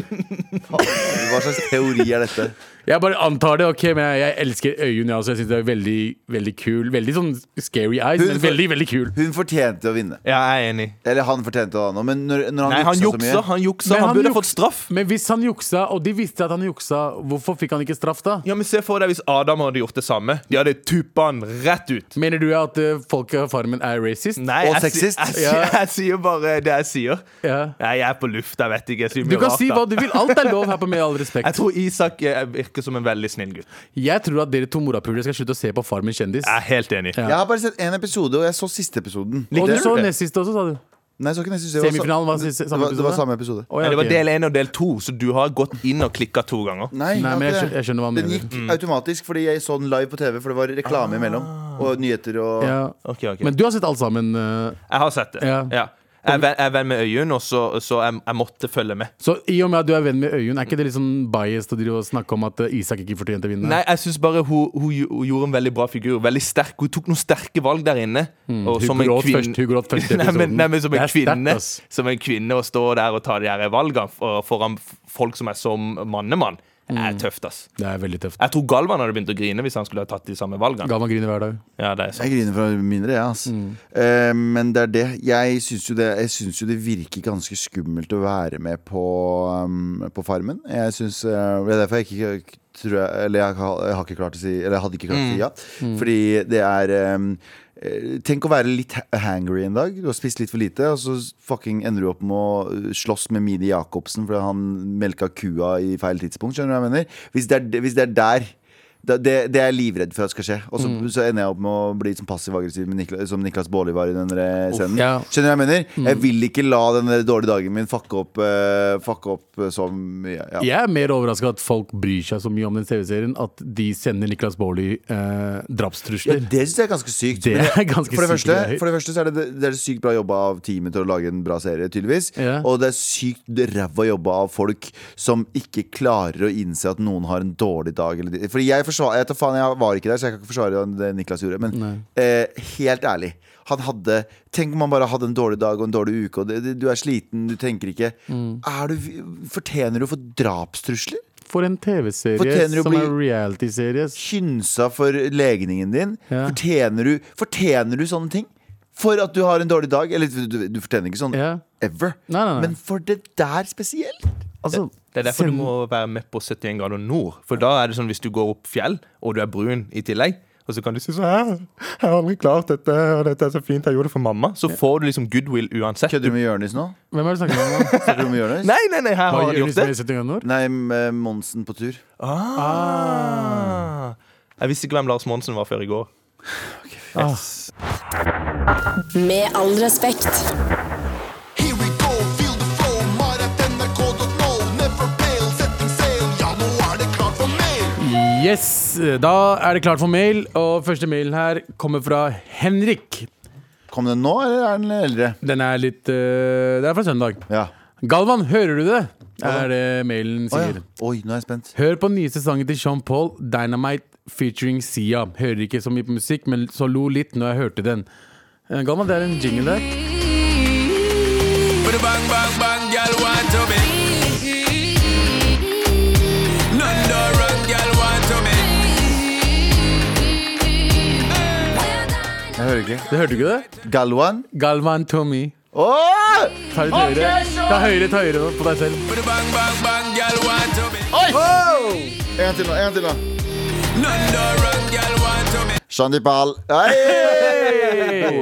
S2: Hva slags teori er dette?
S4: Jeg bare antar det, ok, men jeg, jeg elsker Øyunn, jeg også. Jeg syns det er veldig, veldig kul. Veldig sånn scary eyes,
S2: Hun
S4: men
S2: for-
S4: veldig, veldig kul.
S2: Hun fortjente å vinne.
S3: Ja, jeg er enig.
S2: Eller han fortjente å ha noe, men når, når han,
S3: Nei, han juksa.
S2: så mye
S3: Han juksa
S4: Men
S3: Han
S4: han
S3: burde
S4: juks-
S3: fått straff.
S4: Men hvis han juksa, og de visste at han juksa, hvorfor fikk han ikke straff da?
S3: Ja, men Se for deg hvis Adam hadde gjort det samme. De hadde tuppa han rett ut.
S4: Mener du at eh, folk av Farmen er racist?
S3: Nei,
S2: Og
S3: jeg, si-
S2: sexist.
S3: Jeg, si-
S4: Ja.
S3: jeg sier bare det jeg sier.
S4: Ja.
S3: Nei, jeg er på luft. Jeg vet ikke. Jeg, sier
S4: Du
S3: mye
S4: kan
S3: rart,
S4: si
S3: da.
S4: hva du vil. Alt er lov her på Med all respekt.
S3: jeg tror Isak eh, virker som en veldig snill gutt.
S4: Jeg tror at dere to morapulere skal slutte å se på Farmen kjendis.
S3: Jeg er helt enig.
S4: Ja.
S2: Jeg har bare sett én episode, og jeg så siste episoden.
S4: Og du
S3: Likte
S4: så
S3: du det?
S4: nest siste også, sa du.
S2: Nei, jeg så ikke neste episode. Det
S4: Semifinalen var
S2: det,
S4: siste-
S2: det,
S4: samme
S2: var, det var
S4: episode?
S2: samme episode.
S4: Å, ja,
S3: Men det var
S4: ok.
S3: del én og del to, så du har gått inn og klikka to ganger.
S2: Nei,
S4: Nei,
S2: har ikke
S4: men jeg
S2: det.
S4: skjø- jeg skjønner hva han
S2: Den
S4: mener. Ah.
S2: gikk automatisk fordi jeg så den live på TV, for det var reklame imellom. Og nyheter og
S4: Ja.
S3: Ok, ok
S4: Men du har sett alt sammen. eh,
S3: Jeg har sett det.
S4: Ja.
S3: Ja. Jeg er ven- jeg er venn med Øyunn, og så, så jeg, jeg måtte følge med.
S4: Så i og med at du er venn med Øyunn, er ikke det litt sånn biased å drive og snakke om at eh, Isak ikke fortjente å vinne?
S3: Nei, jeg syns bare hun, hun, gj- hun gjorde en veldig bra figur. Veldig sterk Hun tok noen sterke valg der inne. og
S4: hun gråt Hmm. først- hun gråt først i
S3: nei, men,
S4: episoden.
S3: nei, men som
S4: Det
S3: en
S4: er sterkt,
S3: kvinne
S4: ass.
S3: Som en kvinne å stå der og ta de her valgene for- foran f- folk som er som mannemann,
S4: Hmm.
S3: er tøft, ass.
S4: Det er veldig tøft.
S3: Jeg tror Galvan hadde begynt å grine hvis han skulle ha tatt de samme valgene.
S4: Galvan griner hver dag.
S3: Ja, det er sant.
S2: Jeg griner fra mindre, jeg, altså. Eh, men det er det. Jeg syns jo det, jeg syns jo det virker ganske skummelt å være med på, um, på Farmen. Jeg syns eh, Det er derfor jeg ikke ikke tror jeg, Eller jeg, har- jeg har ikke klart å si Eller jeg hadde ikke klart å si ja. Fordi det er um, eh, Tenk å være litt ha- hangry en dag. Du har spist litt for lite, og så fucking ender du opp med å slåss med Mini Jacobsen fordi han melka kua i feil tidspunkt. Skjønner du hva jeg mener? Hvis det er, hvis det er der det, det, det er jeg livredd for at skal skje. Og så, så ender jeg opp med å bli sånn passiv-aggressiv med Niklas, som Niklas Baarli var i den der eh, scenen.
S4: ja.
S2: Skjønner du hva jeg mener? Jeg vil ikke la den der dårlige dagen min fucke opp, eh, fucke opp eh, så mye. Ja.
S4: Jeg er mer overraska at folk bryr seg så mye om den TV-serien at de sender Niklas Baarli eh,
S2: Ja,
S4: drapstrusler.
S2: det syns jeg er ganske sykt.
S4: Det
S2: Men
S4: er ganske
S2: for, det
S4: sykt
S2: første,
S4: greier.
S2: for det første så er det, det er sykt bra jobba av teamet til å lage en bra serie, tydeligvis.
S4: Ja.
S2: Og det er sykt ræva jobba av folk som ikke klarer å innse at noen har en dårlig dag. Eller, de- fordi jeg, forsvar, jeg, tar faen, jeg var ikke der, så jeg kan ikke forsvare det Niklas gjorde. Men eh, helt ærlig, han hadde Tenk om han bare hadde en dårlig dag og en dårlig uke, og det, det, du er sliten, du tenker ikke
S4: Mm.
S2: er du, Fortjener du å få drapstrusler?
S4: For en TV-serie
S2: Fortjener å
S4: som
S2: bli-
S4: er reality-serie.
S2: kynsa for legningen din?
S4: Ja.
S2: Fortjener, du, fortjener du sånne ting? For at du har en dårlig dag? Eller du, du fortjener ikke sånn
S4: Ja.
S2: ever.
S4: Nei, nei, nei.
S2: Men for det der spesielt?
S4: Altså,
S3: Det er derfor du
S4: send-
S3: må være med på 71 grader nord. For da er det sånn hvis du går opp fjell, og du er brun i tillegg, og så kan du si sånn «Hæ? Jeg har aldri klart dette, og dette er så fint, jeg gjorde det for mamma. Så får du liksom goodwill uansett.
S2: Kødder du med Jonis nå?
S4: Hvem er det du snakker om? nå?
S2: Kødder du med Jonis?
S3: Nei, nei, nei, her
S4: Hva
S3: har de
S4: gjør
S3: gjort det.
S2: liksom-
S4: Nils Meisel Tøngen Nord?
S2: Nei, med Monsen på tur.
S3: Ah. Jeg visste ikke hvem Lars Monsen var før i går.
S5: Med all respekt.
S6: Here we go, feel the flow, mar at nrk.no. Never fail, setting sail, ja nå er det klart for mail.
S4: Yes, da er det klart for mail, og første mailen her kommer fra Henrik.
S2: Kom den nå, eller er den eldre?
S4: Den er litt øh, Den er fra søndag.
S2: Ja.
S4: Galvan, hører du det? Er det mailen
S2: Å,
S4: sier.
S2: ja. Oi, nå er jeg spent.
S4: Hør på den nye sesongen til Sean Paul, Dynamite featuring Sia. Hører ikke så mye på musikk, men så lo litt når jeg hørte den. Eh, Galvan, det er en jingle der.
S7: Bang bang bang, girl want to me. London run, girl want to me.
S2: Jeg hører ikke.
S4: Det hørte du ikke det?
S2: Galvan.
S4: Galvan Tommy.
S2: Åh!
S4: Ta litt høyere. Ta høyere, ta høyere nå på deg selv.
S7: Bang bang bang, girl want to me.
S2: En gang til nå. en gang til nå
S7: London run, girl want to me.
S2: Shandi Pal. Hei!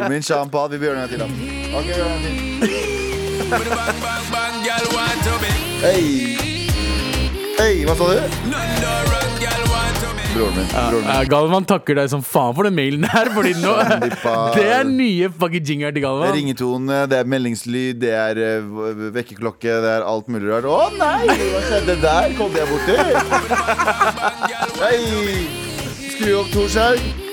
S2: Min Shan Pal. Vi gjør den en gang til, da. Ok, vi gjør den en gang til.
S7: Bang bang bang, girl want to me.
S2: Hei. Hei, hva sa du?
S7: London run, girl want to me.
S2: Broren min. Broren min.
S4: Ja, Eh, Galvan takker deg som faen for den mailen her. Fordi nå
S2: Sandipar.
S4: Det er nye fucking jingler
S2: Det
S4: til
S2: er
S4: Galvan.
S2: ringetone, det er meldingslyd, det er eh, v- vekkerklokke, det er alt mulig rart. Å nei! Hva skjedde der? Kom jeg borti? Hei! Skru opp Torshei.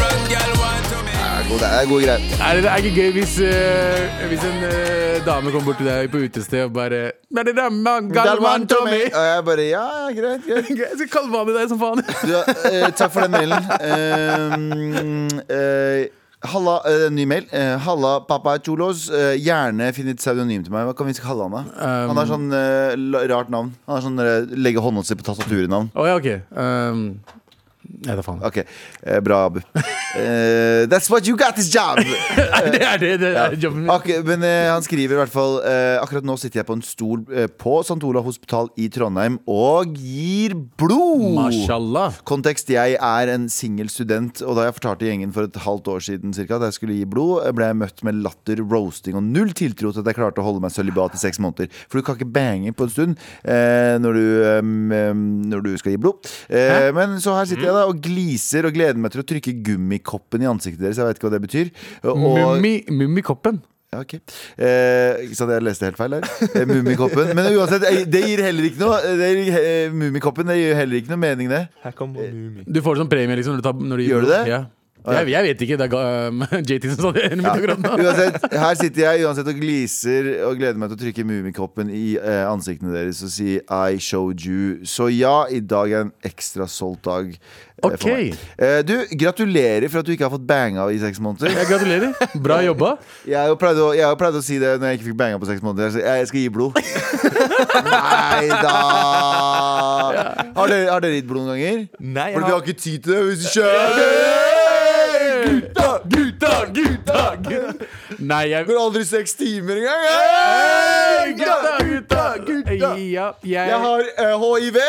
S2: Det er god- det er gode greier.
S4: Er det, er det ikke gøy hvis, eh, hvis en eh, dame kommer bort til deg på utested og bare "Nei, det er man- Galvan Tommy!
S2: Og jeg bare ja, ja, greit, greit.
S4: Jeg skal kalvane deg som faen.
S2: Du, eh, takk for den mailen. Eh, eh, Halla, eh, ny mail. Eh, halla, pappa er cholos. Eh, gjerne finn et pseudonym til meg. Hva kan vi kalle han, da? han
S4: Ehm.
S2: har sånn eh, la- rart navn. Han har sånn eh, legge hånda si på tastaturet-navn.
S4: Å ja, OK. Um, Nei, da faen.
S2: Ok, eh, bra, Abu. Eh, that's what you got this job!
S4: Det er det, det er jobben min.
S2: Ak men eh, han skriver i hvert fall eh, Akkurat nå sitter jeg på en stol eh, på St. Olav hospital i Trondheim og gir blod!
S4: Mashallah.
S2: Kontekst, jeg er en singel student, og da jeg fortalte gjengen for et halvt år siden cirka, at jeg skulle gi blod, ble jeg møtt med latter, roasting og null tiltro til at jeg klarte å holde meg sølibat i seks måneder. For du kan ikke bange på en stund eh, når, du, em, em, når du skal gi blod. Eh, men så her sitter jeg da og gliser og gleder meg til å trykke gummikoppen i ansiktet deres. Jeg vet ikke hva det betyr. Og,
S4: Mummi- Mummikoppen.
S2: ja, ok. eh, ikke sant, jeg leste helt feil her. Eh, Mummikoppen. Men uansett, eh, det gir heller ikke noe. Det gir, eh, Mummikoppen, det gir heller ikke noe mening, det.
S3: Her kommer
S2: Eh,
S3: Mumi.
S4: Du får det som premie liksom, når du tar, når du gir
S2: Gjør du
S4: blod.
S2: det?
S4: Ja. Jeg, jeg vet ikke. Det er ga- um, JT som sa det. en minutt akkurat nå.
S2: Uansett, her sitter jeg uansett og gliser og gleder meg til å trykke Mummikoppen i eh, ansiktene deres og si I showed you. Så ja, i dag er en ekstra solgt dag. eh, for
S4: Ok.
S2: meg. Eh, du, gratulerer for at du ikke har fått banga i seks måneder.
S4: Jeg gratulerer. Bra jobba.
S2: Jeg har jo pleid å, jeg har jo pleid å si det når jeg ikke fikk banga på seks måneder. Jeg, jeg skal gi blod. Nei da! Har dere, har dere gitt blod noen ganger?
S3: Nei, jeg
S2: For vi har
S3: har,
S2: ikke tid til det hvis du kjører!
S4: Gutta, gutta, gutta, gutta. Nei, jeg
S2: Det går aldri seks timer engang! Hey!
S4: Gutta, gutta, gutta.
S2: gutta.
S4: Ja, jeg
S2: Jeg har eh, HIV!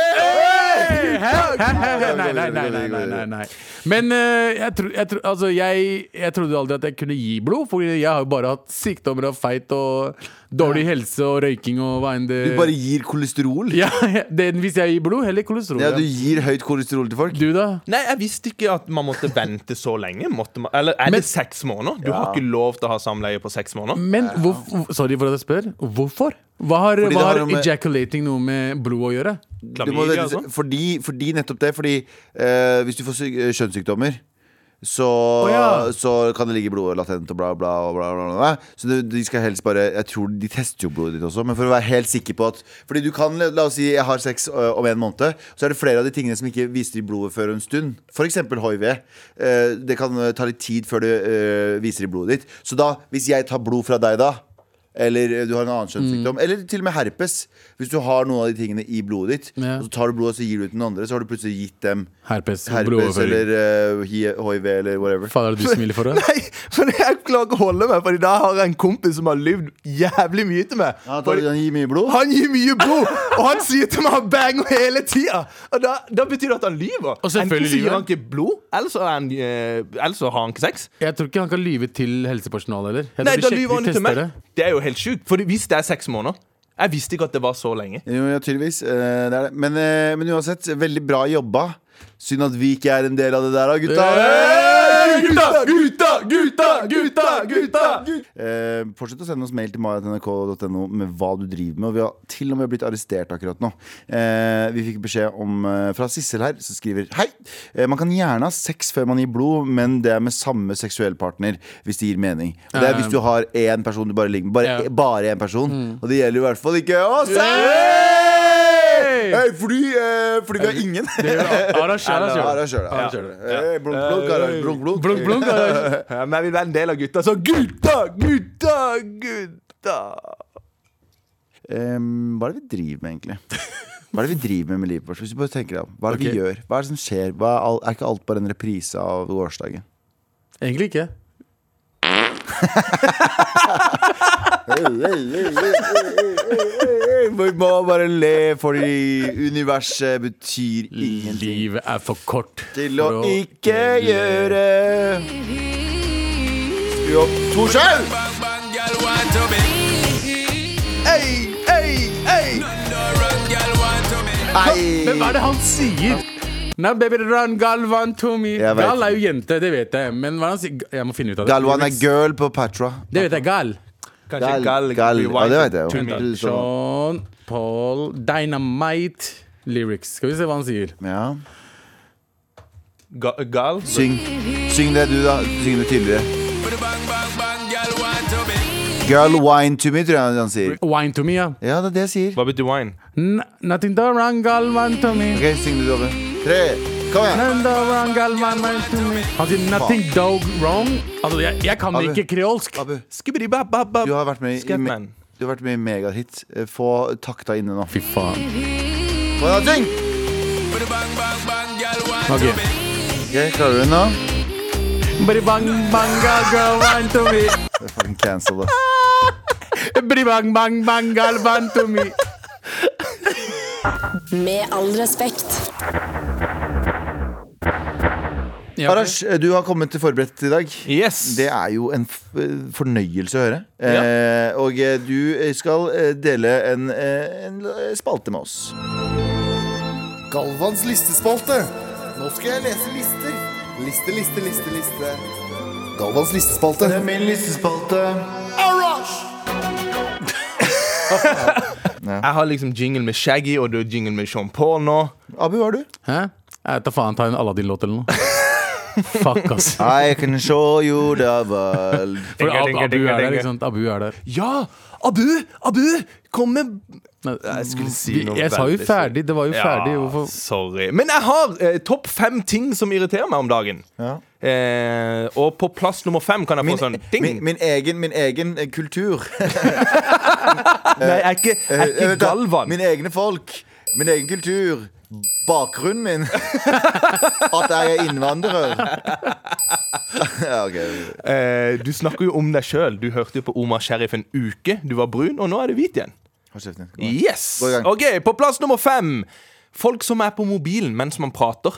S4: Hæ? Hæ? Hæ? Nei, nei, nei, nei, nei, nei, nei. Men eh, jeg, tro, jeg, tro, altså, jeg, jeg trodde aldri at jeg kunne gi blod, for jeg har jo bare hatt sykdommer og feit og dårlig helse og røyking og hva enn det
S2: Du bare gir kolesterol?
S4: ja, det, Hvis jeg gir blod, heller kolesterol.
S2: Ja,
S4: Ja,
S2: du gir høyt kolesterol til folk?
S4: Du, da?
S3: nei, jeg visste ikke at man måtte vente så lenge. Måtte man, eller er det seks måneder? Du har ikke lov til å ha samleie på seks
S2: Mm.
S3: måneder.
S4: Men hvorf- sorry for at jeg spør. Hvorfor? Hva har,
S2: det
S4: hva
S2: har
S4: har
S2: noe med-
S4: ejaculating noe med blod å gjøre?
S2: Du må,
S3: Klamydia og
S4: altså.
S3: sånn.
S2: fordi, fordi nettopp det. Fordi eh, hvis du får syk- eh, kjønnssykdommer så,
S4: ja.
S2: så kan det ligge i blodet latent og bla, bla, og bla, bla, bla. Så det, de skal helst bare Jeg tror de tester jo blodet ditt også, men for å være helt sikker på at Fordi du kan, la oss si jeg har sex ø, om en måned, så er det flere av de tingene som ikke viser i blodet før en stund. F.eks. hiv. Eh, det kan ø, ta litt tid før det ø, viser i blodet ditt. Så da, hvis jeg tar blod fra deg da eller ø, du har en annen kjønnssykdom,
S4: Mm.
S2: eller til og med herpes. Hvis du har noen av de tingene i blodet ditt,
S4: Ja.
S2: og så tar du blodet og så gir du ut den andre, så har du plutselig gitt dem
S4: Herpes.
S2: herpes
S4: blodoverføring.
S2: eller eh, hi- hiv eller whatever.
S4: Faen, er det du smiler for det?
S3: Nei, for jeg klarer ikke å holde meg, Fordi da har jeg en kompis som har lyvd jævlig mye til meg.
S2: Ja, da,
S3: Fordi-
S2: han gir mye blod.
S3: Han gir mye blod, og han sier til meg han banger hele tida. Og da, da betyr det at han lyver.
S4: Og
S3: Enten
S4: selvfølgelig
S3: så
S4: lyver
S3: gir
S4: han.
S3: han ikke blod, eller så, er han, eh, eller så har han ikke sex.
S4: Jeg tror ikke han kan lyve til helsepersonalet heller. Jeg
S3: Nei, da
S4: tror de sjekker-
S3: lyver han
S4: de
S3: jo til
S4: tester
S3: meg.
S4: det.
S3: Det er jo helt sjukt. For hvis det er seks måneder Jeg visste ikke at det var så lenge.
S2: Jo, ja, tydeligvis. eh, det er det. Men, eh, men uansett, veldig bra jobba. Synd at vi ikke er en del av det der, da, gutta.
S3: Gutta, gutta, gutta, gutta, gutta!
S2: Eh, fortsett å sende oss mail til maratnrk.no med hva du driver med. Og vi har til og med blitt arrestert akkurat nå. Eh, vi fikk beskjed om, eh, fra Sissel her, som skriver Hei! Eh, man kan gjerne ha sex før man gir blod, men det er med samme seksuell partner, hvis det gir mening. Og det er hvis du har én person du bare ligger med. Bare,
S4: Ja. Mm.
S2: bare én person. Og det gjelder i hvert fall ikke oss! Hey, fordi, eh, fordi vi har ingen.
S4: Arash, Arash,
S2: Ja,
S4: gjør
S2: da
S4: det.
S2: kjører jeg.
S4: Ja, kjør det.
S2: Hey, Blunk, blunk, Harald, blunk, blunk.
S4: Blunk, blunk, Arash.
S3: Ja, men jeg vil være en del av gutta, så gutta, gutta, gutta!
S2: Ehm, hva er det vi driver med, egentlig? Hva er det vi driver med med livet vårt? Hvis du bare tenker deg om, Hva er det
S4: Ok.
S2: vi gjør? Hva er det som skjer? Hva er, all, er ikke alt bare en reprise av gårsdagen?
S4: Egentlig ikke.
S2: Vi må bare le, fordi universet betyr ingenting.
S4: Livet er for kort
S2: Til å ikke gjøre Skru opp Torshau!
S3: Ei, ei, ei!
S2: Nei!
S4: Men hva er det han sier? Now baby run, Galvan to me.
S2: Jeg vet
S4: Gal er
S2: ikke.
S4: jo jente, det vet jeg. Men hva er det han sier? Jeg må finne ut av det.
S2: Galvan er girl på Patra.
S4: Det vet jeg. Gal.
S3: Kanskje Gal,
S2: Gal- Ja, det vet jeg
S3: Tull-
S2: jo. sånn- Så-
S4: Sean Paul Dynamite lyrics. Skal vi se hva han sier.
S2: Ja.
S3: Ga- Gal?
S2: Syng. Syng det du, da. Syng det tydeligere.
S7: Bang bang bang, gal want to me.
S2: Girl wine to me, tror jeg han sier.
S4: Wine to me, ja.
S2: Ja, det er det jeg sier.
S3: Hva betyr wine?
S4: N nothing to run, Galvan to me.
S2: Ok, syng det, Dove. Tre. Kom igjen.
S4: Nothing to run, Galvan to me. Han sier 'nothing dog wrong'. Altså, jeg, jeg kan
S2: Abu.
S4: ikke kreolsk.
S2: Abu,
S3: Skubidi-bab-bab-bab.
S2: du har vært med i,
S3: Scatman.
S2: du har vært med i megahit. Eh, Få takta inne nå.
S4: Fy faen.
S2: Kom igjen, syng!
S7: Bang bang bang, gal want
S4: Ok.
S7: to me.
S2: Ok, klarer du den nå?
S4: Bang, bang, gal, Galvan to me.
S2: Det er fucking cancel, ass.
S4: Bang, bang, bang, Galvan to me.
S5: Med all respekt.
S4: Ja, ok.
S2: Arash, eh, du har kommet til forberedt i dag.
S3: Yes.
S2: Det er jo en f eh, fornøyelse å høre. Eh, og eh, du skal eh, dele en, eh, en l- spalte med oss.
S6: Galvans listespalte. Nå skal jeg lese lister. Liste, liste, liste, liste. Galvans listespalte.
S2: Det er min listespalte.
S3: Jeg har liksom jingle med Shaggy, og du har jingle med Sean Paul nå.
S2: Abu, hva har du?
S4: Hæ? Jeg vet da faen. Ta en Aladdin-låt eller noe. Fuck, ass.
S2: I can show you the world.
S4: For
S3: Dinga, dinga,
S4: Ab Abu
S3: dinga,
S4: er der,
S3: dinga.
S4: ikke sant? Abu er der.
S3: Ja! Abu! Abu! Kom med
S4: Nei,
S3: Jeg skulle si
S4: vi-
S3: noe
S4: Jeg sa jo
S3: veldig stort.
S4: ferdig. Det var jo ferdig. Hvorfor
S3: sorry. Men jeg har eh, topp fem ting som irriterer meg om dagen.
S2: Ja.
S3: Eh, og på plass nummer fem kan jeg få sånn ding.
S2: Min, min egen, min egen eh, kultur.
S3: Nei, jeg er ikke, jeg er
S2: Eh,
S3: ikke
S2: vent da.
S3: Galvan.
S2: Mine egne folk. Min egen kultur. Bakgrunnen min. At jeg er innvandrer. ja, ok.
S3: Eh, du snakker jo om deg sjøl. Du hørte jo på Omar Sheriff en uke. Du var brun, og nå er du hvit igjen.
S2: Hold kjeften din. Kom igjen.
S3: Yes!
S2: Gå i gang.
S3: OK, på plass nummer fem. Folk som er på mobilen mens man prater.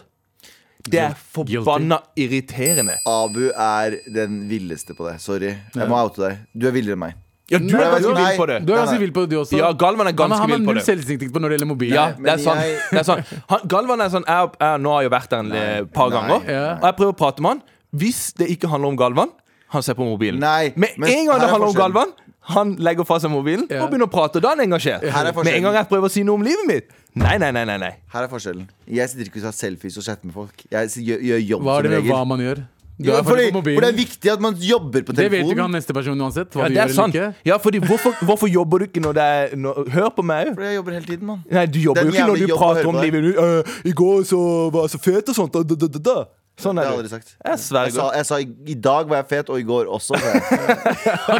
S3: Det er forbanna irriterende.
S2: Abu er den villeste på det. Sorry. Jeg må oute deg. Du er villere enn meg.
S3: Ja, du
S4: Nei,
S3: er ganske
S2: nei,
S3: vill på det.
S4: Du
S2: Nei,
S4: er
S2: nei.
S4: ganske vill på det, du også.
S3: Ja, Galvan er
S4: Han-
S3: ganske vill
S4: Han
S3: på
S4: har null
S3: det.
S4: selvinnsikt på når det gjelder mobil.
S3: Ja,
S2: men
S3: det er sant.
S2: jeg-
S3: Det er sant. Han, Galvan er sånn jeg, jeg, Nå har jeg jo vært der en eh, par
S2: Nei.
S3: ganger,
S4: Ja.
S3: og jeg prøver å prate med han. Hvis det ikke handler om Galvan, han ser på mobilen.
S2: Nei,
S3: Med
S2: men
S3: en gang
S2: her
S3: det
S2: er
S3: handler om
S2: forskjellen.
S3: Galvan, han legger fra seg mobilen
S4: Ja.
S3: og begynner å prate. og Da er han engasjert.
S2: Her er
S3: Med en gang jeg prøver å si noe om livet mitt. Nei, nei, nei. nei, nei.
S2: Her er forskjellen. Jeg sitter ikke og tar selfies og chatter med folk. Jeg s- gjør, gjør jobb
S4: Hva er det
S2: som
S4: med
S2: regel.
S4: hva man gjør? Du
S2: Ja,
S4: er
S2: fordi,
S4: ferdig på
S2: for det er
S4: mobilen.
S2: viktig at man jobber på
S4: Det vet ikke han
S2: telefonen.
S4: neste person uansett. Hva
S3: Ja,
S4: du
S3: det er
S4: gjør
S3: sant.
S4: eller ikke.
S3: Ja, fordi hvorfor, hvorfor jobber du ikke når det er når, Hør på meg òg.
S2: For jeg jobber hele tiden, mann.
S3: Nei, du jobber
S2: Den
S3: jo ikke når
S2: jævla
S3: du
S2: jobben å
S3: prater
S2: høre
S3: om
S2: på
S3: livet. Du, «Øh, I går så var jeg så fet og sånt. Da, da, da, da, da. Sånn
S2: Det har
S3: er
S2: jeg
S3: du.
S2: aldri sagt.
S3: Jeg sverger.
S2: sa, jeg sa i, i dag var jeg fet, og i går også. sa jeg.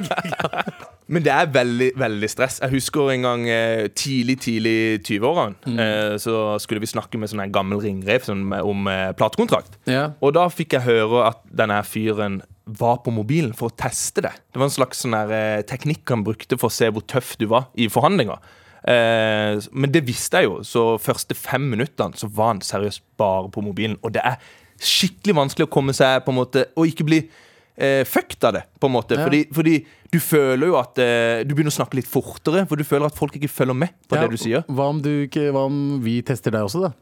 S3: Men det er veldig, veldig stress. Jeg husker en gang eh, tidlig, tidlig 20-årene. Eh, så skulle vi snakke med sånn her gammel ringrev sånn, med- om eh, platekontrakt.
S4: Ja.
S3: Og da fikk jeg høre at denne her fyren var på mobilen for å teste det. Det var en slags sånn her, eh, teknikk han brukte for å se hvor tøff du var i forhandlinger. Eh, men det visste jeg jo, så første fem minuttene så var han seriøst bare på mobilen. Og det er skikkelig vanskelig å komme seg på en måte Og ikke bli eh, fucked av det, på en måte. Fordi, fordi du føler jo at eh, Du begynner å snakke litt fortere, for du føler at folk ikke følger med på
S4: Ja,
S3: det du sier.
S4: Hva om, du, ikke- hva om vi tester deg også, da?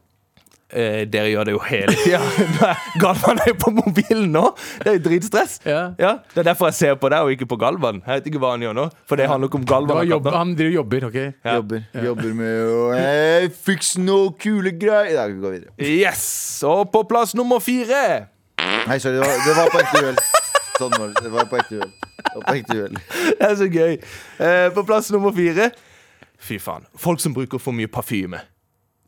S3: Eh, dere gjør det jo hele tida. Galvan er jo på mobilen nå! Det er jo dritstress.
S4: Ja.
S3: Det er derfor jeg ser på deg og ikke på Galvan. Jeg vet ikke hva han gjør nå. For det handler ikke om
S4: Det
S3: Galvan.
S4: var
S3: akkurat
S4: jobb,
S3: nå.
S4: han driver jobber, OK?
S3: Ja.
S2: Jobber, jobber med å hey, Fiks noe kule greier. Ja, vi går videre.
S3: Yes! Og på plass nummer fire
S2: Nei, sorry. Det var, det var på ekte uhell. Sånn var det. Det var på ekte uhell. Det var på ekte uhell.
S3: Det er så gøy. Eh, på plass nummer fire Fy faen. Folk som bruker for mye parfyme.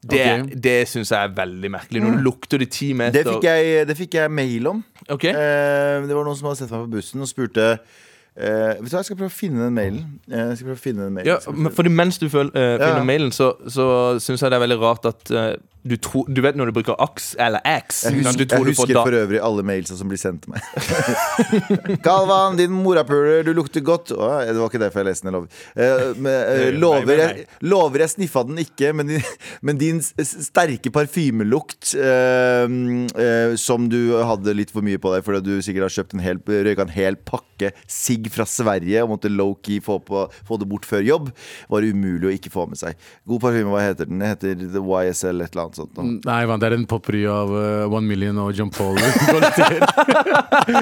S3: Det,
S4: Ok.
S3: det syns jeg er veldig merkelig. Når du lukter det ti meter
S2: Det fikk jeg, det fikk jeg mail om.
S3: Ok.
S2: Eh, det var noen som hadde sett meg på bussen og spurte eh, Vet du hva, jeg skal prøve å finne den mailen. Eh, Jeg skal prøve å finne den mailen
S3: Ja, men fordi mens du føl, eh, finner
S2: Ja.
S3: mailen, så, så syns jeg det er veldig rart at eh, du, tro, du vet når du bruker aks eller ax
S2: Jeg
S3: du
S2: husker,
S3: tror
S2: jeg
S3: du får
S2: husker
S3: da-
S2: for øvrig alle mailsa som blir sendt til meg. Galvan, din morapuler, du lukter godt. Å, det var ikke derfor jeg leste den. jeg Lover, Eh, men, eh,
S3: Nei,
S2: lover,
S3: nei, nei.
S2: jeg, lover jeg sniffa den ikke, men din, men din s- sterke parfymelukt eh, eh, som du hadde litt for mye på deg fordi du sikkert har kjøpt en hel, røyka en hel pakke sigg fra Sverige og måtte low-key få, på- få det bort før jobb, var umulig å ikke få med seg. God parfyme, hva heter den? Den heter The YSL et eller annet. annet sånt. nå.
S4: Nei, man, det er en potpurri av eh, One Million og John Paul. Så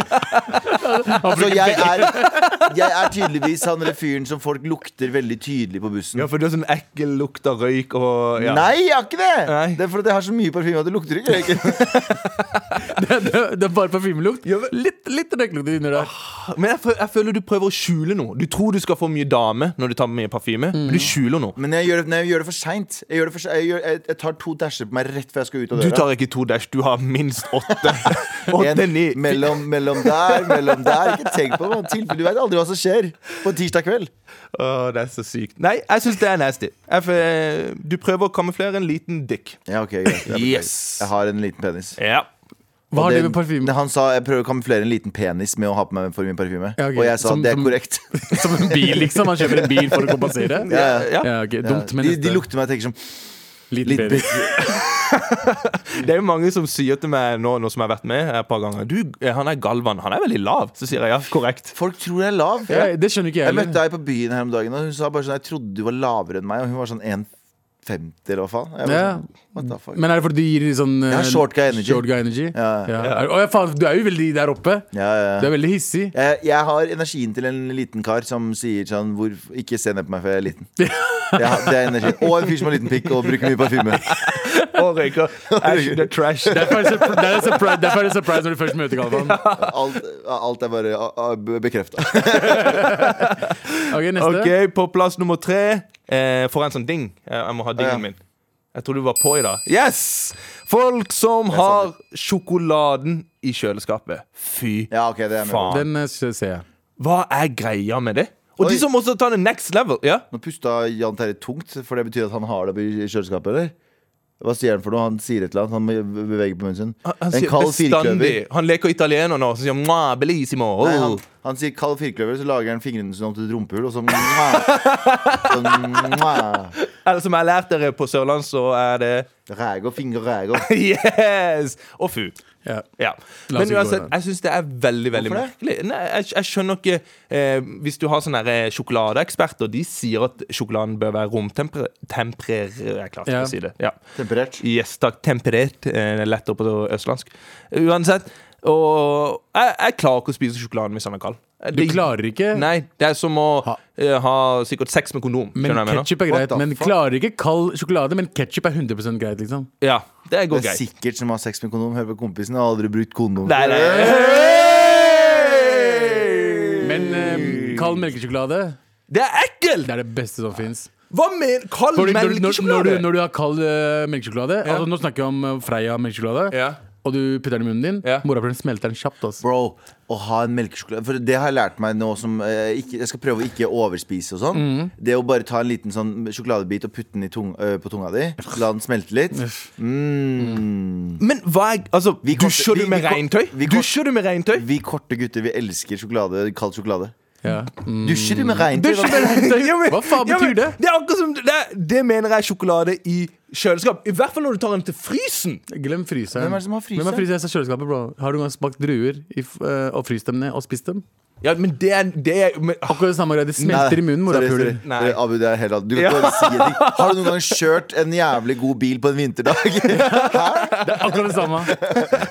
S2: Så Altså, jeg er, jeg er tydeligvis han eller fyren som folk lukter veldig tydelig på bussen.
S3: Ja, for du har sånn ekkel lukt av røyk og ja.
S2: Nei, jeg har ikke det!
S3: Nei.
S2: Det er fordi jeg har så mye parfyme at det lukter ikke røyk.
S4: det, det, det er bare parfymelukt. Litt, litt røyklukt under der.
S2: Ah,
S3: Men jeg, fø- jeg føler du prøver å skjule noe. Du tror du skal få mye dame når du tar mye parfyme, men du skjuler noe.
S2: Men jeg gjør det, nei, jeg gjør det for seint. Jeg, gjør det for se- jeg, gjør- jeg, jeg tar to dasher på meg rett før jeg skal ut av
S3: Du
S2: døra.
S3: tar ikke to dash, du har minst åtte. åtte,
S2: En
S3: ni
S2: mellom, mellom der, mellom der. Ikke tenk på det. man. Tilfelle du veit aldri hva som skjer på en tirsdag kveld.
S3: Åh, Det er så sykt. Nei, jeg syns det er nasty. Jeg, fø- du prøver å kamuflere en liten dick.
S2: Ja, ok, greit. Jeg beklager.
S3: Yes.
S2: Jeg har en liten penis.
S3: Ja.
S4: Hva har
S2: Og
S4: det med parfyme
S2: Han sa jeg prøver å kamuflere en liten penis med å ha på meg for mye parfyme.
S4: Ja, ok.
S2: Og jeg sa
S4: Som-
S2: det er
S4: som-
S2: korrekt.
S4: Som en bil, liksom. Man kjøper en bil for å kompensere.
S2: Ja, ja.
S3: Ja.
S4: Ja, ok, Dumt, men
S2: de, de
S4: neste-
S2: lukter meg og tenker sånn, som
S4: litt
S2: litt
S4: bedre.
S3: Det er jo mange som sier til meg nå, nå som jeg har vært med et par ganger Du, eh, han er Galvan, han er veldig lav. Så sier jeg ja, korrekt.
S2: Folk tror jeg er lav.
S4: Ja, det skjønner ikke jeg
S2: Jeg
S4: heller.
S2: møtte ei på byen her om dagen, og hun sa bare sånn Jeg trodde du var lavere enn meg, og hun var sånn 1,50 eller hva faen. Jeg var
S4: Ja.
S2: sånn, What the fuck?
S4: Men er det fordi du gir sånn eh,
S2: har short guy energy.
S4: Short guy energy?
S2: Ja, ja.
S4: Er- Å, ja, faen, du er jo veldig der oppe.
S2: Ja, ja,
S4: Du
S2: ja.
S4: er veldig hissig.
S2: Jeg, jeg har energien til en liten kar som sier sånn hvor, Ikke se ned på meg, for jeg er liten. Jeg har- det er energien. Og en fyr som har liten pikk og bruker mye parfyme.
S3: Og røyker. Æsj, det er trash.
S4: Derfor er det surpri- det er en surprise, derfor er det surprise når du først møter Galvan.
S2: Alt, alt er bare bekrefta.
S4: Ok, neste.
S3: Ok, på plass nummer tre eh, Får en sånn ding eh, Jeg må ha dingen
S2: Ja.
S3: min Jeg tror du var på i dag Yes! Folk som har sjokoladen i kjøleskapet Fy
S2: Ja, ok, det er jeg med på.
S3: faen
S4: Den eh, ser ser jeg.
S3: Hva er greia med det? Og
S2: Oi.
S3: de som også tar det next level Ja,
S2: Nå pusta Jan Terje tungt, for det betyr at han har det i kjøleskapet, eller? Hva sier han for noe? Han sier et eller annet. Han beveger på munnen sin.
S3: han, han
S2: en
S3: sier
S2: kald firkløver.
S3: bestandig Han leker italiener nå Så sier han Mwah, bellissimo oh.
S2: Nei, han, han sier kald firkløver, så lager han fingrene sine om til et rumpehull, og så Mwah. Sånn, mwah.
S3: Eller som jeg lærte dere på Sørland Så er det
S2: Ræger, finger, ræger.
S3: Yes! Og fu
S4: Ja.
S3: Ja.
S4: La oss
S3: Men
S4: ikke gå
S3: uansett,
S4: der.
S3: jeg syns det er veldig veldig
S2: Hvorfor
S3: merkelig. Nei, jeg, jeg skjønner ikke eh, Hvis du har sånne her, eh, sjokoladeeksperter, de sier at sjokoladen bør være romtemperert Jeg klarte ikke
S4: Ja.
S3: å si det. Ja.
S2: Temperert.
S3: Yes, takk. Temperert. Eh, det er lettere på østlandsk. Uansett. Og jeg, jeg klarer ikke å spise sjokoladen hvis den er kald. Eh,
S4: Du klarer ikke,
S3: Nei, det er som å ha,
S4: Ha.
S3: ha sikkert sex med kondom.
S4: men
S3: Skjønner du hva jeg mener?
S4: ketsjup er greit.
S2: What the
S4: Men
S2: fuck?
S4: klarer ikke kald sjokolade, men ketsjup er 100 greit, liksom.
S3: Ja, det
S2: Det
S3: går
S2: er
S3: greit.
S2: sikkert som har sex med kondom. Hører på kompisen, har aldri brukt kondom.
S3: Nei, nei.
S4: Men eh, kald melkesjokolade,
S3: Det er ekkelt!
S4: det er det beste som fins.
S3: Hva mener Kald
S4: Fordi når, når, når,
S3: melkesjokolade?
S4: du- når du har kald eh, melkesjokolade altså, Nå snakker vi om eh, Freia melkesjokolade.
S3: Ja.
S4: Og du putter den i munnen din.
S3: Ja.
S4: Morapuleren smelter den kjapt. altså. ass.
S2: Bro, å ha en melkesjokolade For det har jeg lært meg nå som eh, ikke, Jeg skal prøve å ikke overspise og sånn
S3: Mm.
S2: Det å bare ta en liten sånn sjokoladebit Og putte den i tung, ø, på tunga di La den smelte litt mm.
S3: Men hva er Altså,
S2: Vi koster-
S3: dusjer du
S2: vi-
S3: med
S2: vi ko-
S3: regntøy?
S2: vi ko-
S3: Dusjer du med regntøy?
S2: Vi korte gutter, vi elsker sjokolade Kald sjokolade
S4: Ja. Mm.
S2: Dusjer du med regntøy?
S3: Dusjer med regntøy? Ja, men-
S4: Hva faen
S3: ja, men
S4: betyr det?
S3: Det er akkurat som Det, er- det mener jeg er sjokolade i kjøleskap. I hvert fall når du tar den til frysen.
S4: Glem fryseren.
S2: Hvem er det som har fryseren?
S4: Hvem har fryseren? Jeg sa kjøleskapet, bro. Har du noen gang smakt druer i, f- eh, og fryst dem ned og spist dem?
S3: Ja, men det er, det er men, ah,
S4: Akkurat det samme greia. Det
S2: Nei,
S4: smelter i munnen.
S2: sorry,
S4: morapuler.
S2: sorry.
S3: Nei.
S2: Abu, det er helt annet. Du kan ikke bare si en ting. Har du noen gang kjørt en jævlig god bil på en vinterdag?
S4: Det er akkurat det samme.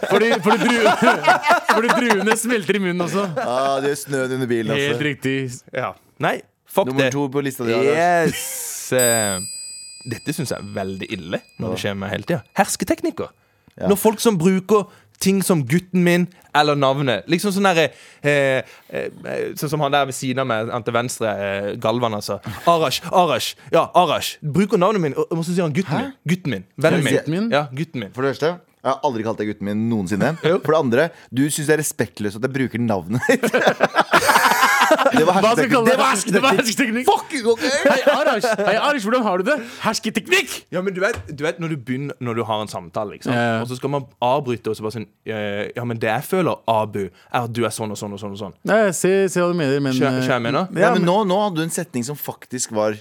S4: Fordi, fordi, druene, fordi druene smelter i munnen også.
S2: ah, det er snøen under bilen
S4: Helt
S2: altså.
S4: riktig.
S3: ja. Nei, fuck
S2: Nummer
S3: det.
S2: to på lista di Anders.
S3: Yes. Eh, Dette syns jeg er veldig ille når det skjer med hele tida. Hersketeknikker. Når folk som bruker ting som gutten min eller navnet. Liksom sånn derre eh, eh, Sånn som han der ved siden av meg, han til venstre, eh, Galvan, altså. Arash, Arash. Ja, Arash. Bruker navnet min, og og så sier han gutten min. Gutten min. Vennen min.
S4: Gutten min?
S3: Ja, gutten min.
S2: For det første, jeg har aldri kalt deg gutten min noensinne. For det andre, du syns det er respektløst at jeg bruker navnet ditt. Det var
S4: Hva skal jeg
S2: hersketeknikk. Det
S4: kalle
S2: var
S4: det? Det var
S2: hersketeknikk.
S4: hersketeknikk.
S2: Fuck you, ok?
S4: Hei, Arash. Hei, Arash, hvordan har du det? Hersketeknikk!
S3: Ja, men du vet, du vet når du begynner Når du har en samtale, ikke sant?
S4: Ja, ja.
S3: og så skal man avbryte og så bare sånn eh, Ja, men det jeg føler, Abu, er at du er sånn og sånn og sånn. og sånn
S4: Nei, jeg ser, ser hva du mener, men
S3: Skjø- skjønner jeg mener?
S4: Ja,
S2: Nei, men
S4: men,
S2: nå, nå hadde du en setning som faktisk var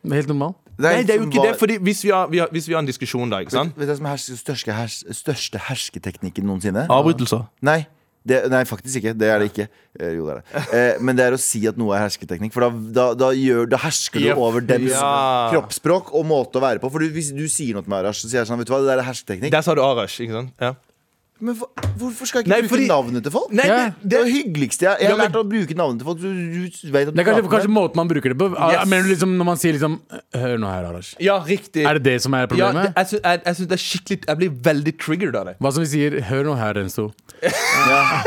S4: det er eh, helt normal.
S3: Nei, det er jo
S2: som
S3: ikke det,
S2: var-
S3: fordi hvis vi har, vi har, hvis vi har en diskusjon da, ikke
S2: Vet
S3: sant?
S2: vet du hva som er herske, største, hers, største hersketeknikken noensinne?
S3: Avbrytelser.
S2: Nei. det, Nei, faktisk ikke. Det er det ikke. Eh, jo, det er det. Eh, men det er å si at noe er hersketeknikk. For da, da, da, gjør, da hersker du
S4: Yep.
S2: over dems
S3: Ja.
S2: kroppsspråk og måte å være på. For du, hvis du sier noe til meg, Arash, så sier jeg sånn Vet du hva, det der er hersketeknikk.
S3: Der sa du Arash, ikke sant? Ja.
S2: Men hva- hvorfor skal jeg ikke
S3: Nei,
S2: bruke
S3: fordi-
S2: navnet til folk?
S3: Nei,
S2: det,
S4: Ja.
S2: det, er det hyggeligste jeg, jeg
S3: Ja,
S2: har
S3: men-
S2: lært å bruke navnet til folk. Du, du vet at du
S4: Det er kanskje,
S2: prater
S4: kanskje
S2: med dem.
S4: måten man bruker det på. Ah,
S3: Yes.
S4: Men liksom når man sier liksom Hør nå her, Arash.
S3: Ja, riktig.
S4: Er det det som er
S3: Ja, det,
S4: problemet?
S3: jeg, syns- jeg, jeg syns det er skikkelig Jeg blir veldig triggered av det.
S4: Hva som vi sier 'hør nå her, Renzo'.
S2: ja.